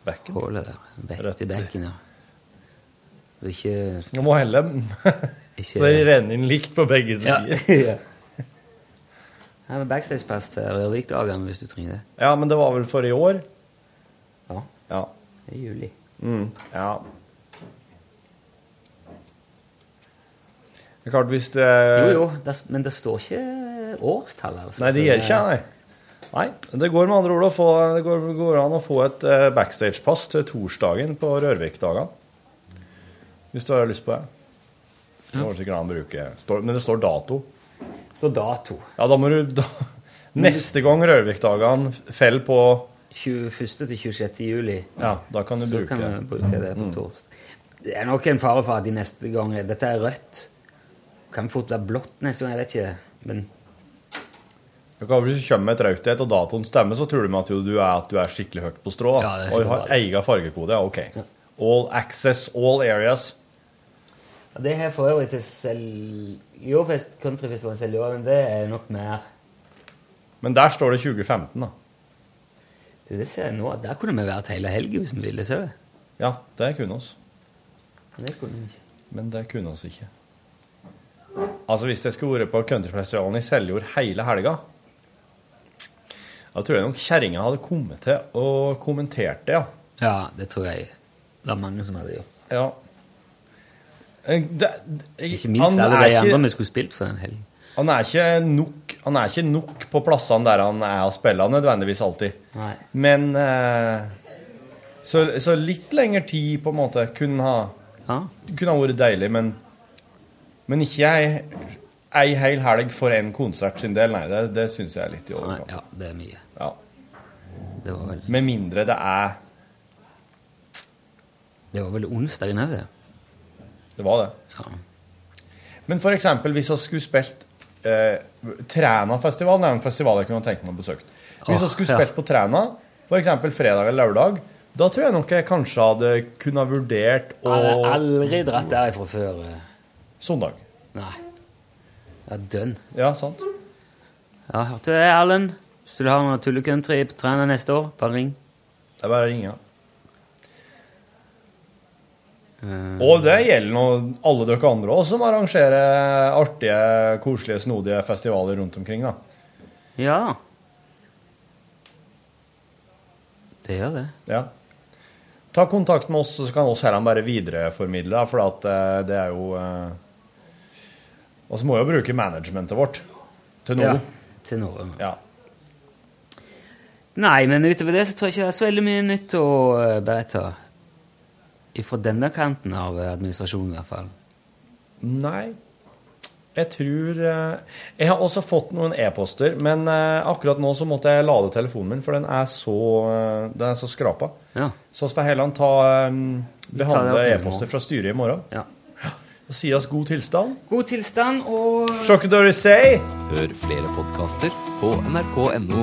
Speaker 4: Bekken.
Speaker 3: hullet der.
Speaker 4: Rett
Speaker 3: Rett
Speaker 4: i-
Speaker 3: i bekken, ja. Så ikke,
Speaker 4: Du må helle [laughs]
Speaker 3: ikke
Speaker 4: så det renner inn likt på begge sider. Ja.
Speaker 3: Her er backstagepass til Rørvik-dagene hvis du trenger det.
Speaker 4: men det var vel for i år?
Speaker 3: Ja,
Speaker 4: Ja.
Speaker 3: det er juli.
Speaker 4: Mm. ja. Det er klart, hvis det
Speaker 3: Jo, jo, det, men det står ikke årstall, altså.
Speaker 4: Nei, det
Speaker 3: Så
Speaker 4: gjør ikke jeg, nei. Nei, Det går med andre ord å få, det går, går an å få et eh, backstage-pass til torsdagen på Rørvik-dagene. Hvis du har lyst på det. Det går sikkert an å bruke. Står, men det står dato.
Speaker 3: Det står dato.
Speaker 4: Ja, da må du da, Neste gang Rørvik-dagene faller på
Speaker 3: 21. til 26. juli.
Speaker 4: Ja, da kan du
Speaker 3: så
Speaker 4: bruke
Speaker 3: kan
Speaker 4: det. Mm.
Speaker 3: vi bruke det på torsdag. Det er nok en fare for at de neste gang Dette er rødt. Kan fort være blått neste gang, jeg vet ikke. Men
Speaker 4: Det kan- Hvis du kommer med et rauthet og datoen stemmer, så tror du med at jo, du er, at du er skikkelig høyt på strå.
Speaker 3: Ja,
Speaker 4: Da.
Speaker 3: det er
Speaker 4: og
Speaker 3: sikkert
Speaker 4: du har
Speaker 3: bra.
Speaker 4: egen fargekode. Ja, OK. All access, all areas.
Speaker 3: Ja, det her for øvrig til selv... Jordfest, countryfestivalen Seljorven, det er nok mer
Speaker 4: Men der står det 2015, da.
Speaker 3: Du, det ser jeg nå. Der kunne vi vært hele helgen hvis vi ville se det.
Speaker 4: Ja, det kunne oss.
Speaker 3: Det kunne vi ikke.
Speaker 4: Men det kunne oss ikke. Altså, hvis jeg skulle vært på countryfestivalen i Seljord hele helga, da tror jeg nok kjerringa hadde kommet til og kommentert det, ja.
Speaker 3: Ja, det tror jeg det er mange som hadde gjort.
Speaker 4: ja. Eh, Det, det,
Speaker 3: Ikke minst alle
Speaker 4: er
Speaker 3: de
Speaker 4: ikke-
Speaker 3: andre vi skulle spilt for den helgen.
Speaker 4: Han er ikke nok, han er ikke nok på plassene der han er og spiller nødvendigvis alltid.
Speaker 3: Nei.
Speaker 4: Men eh, så, så litt lengre tid på en måte kunne ha,
Speaker 3: Ja.
Speaker 4: kunne ha vært deilig, men, men ikke ei, ei hel helg for én konsert sin del. Nei, det, det syns jeg er litt i
Speaker 3: Nei,
Speaker 4: overkant.
Speaker 3: ja, det er mye.
Speaker 4: Ja.
Speaker 3: Det var vel,
Speaker 4: Med mindre det er
Speaker 3: det var vel onsdagen òg, det.
Speaker 4: Det var det.
Speaker 3: Ja.
Speaker 4: Men for eksempel hvis vi skulle spilt eh, Trænafestivalen er en festival jeg kunne tenkt meg å besøke. Hvis vi
Speaker 3: Åh,
Speaker 4: skulle
Speaker 3: ja.
Speaker 4: spilt på Træna, f.eks. fredag eller lørdag, da tror jeg nok jeg kanskje hadde kunne ha vurdert å
Speaker 3: Jeg har aldri dratt derifra før. eh.
Speaker 4: Søndag.
Speaker 3: Nei. Ja, dønn.
Speaker 4: Ja, sant?
Speaker 3: Ja, hørte du det, Erlend? Hvis du har noe tullecountry på Træna neste år, bare ring.
Speaker 4: Det er bare å ringe.
Speaker 3: Eh.
Speaker 4: Og det gjelder nå alle dere andre òg, som arrangerer artige, koselige, snodige festivaler rundt omkring. da.
Speaker 3: Ja. Det gjør det.
Speaker 4: Ja. Ta kontakt med oss, så kan oss heller bare videreformidle, da, for at eh, det er jo eh, Og så må vi jo bruke managementet vårt til nå.
Speaker 3: Ja,
Speaker 4: Ja.
Speaker 3: til noe. Nei, men utover det så tror jeg ikke det er så veldig mye nytt å eh, berette. Fra denne kanten av eh, administrasjonen, i hvert fall.
Speaker 4: Nei Jeg tror eh, Jeg har også fått noen e-poster, men eh, akkurat nå så måtte jeg lade telefonen min, for den er så, eh, den er så skrapa.
Speaker 3: Ja.
Speaker 4: Så skal Helland ta eh,
Speaker 3: opp i
Speaker 4: behandle
Speaker 3: morgen.
Speaker 4: e-poster fra styret i morgen
Speaker 3: ja.
Speaker 4: og si oss god tilstand.
Speaker 3: God tilstand og
Speaker 4: Sjokkedører say!
Speaker 10: Hør flere podkaster på nrk.no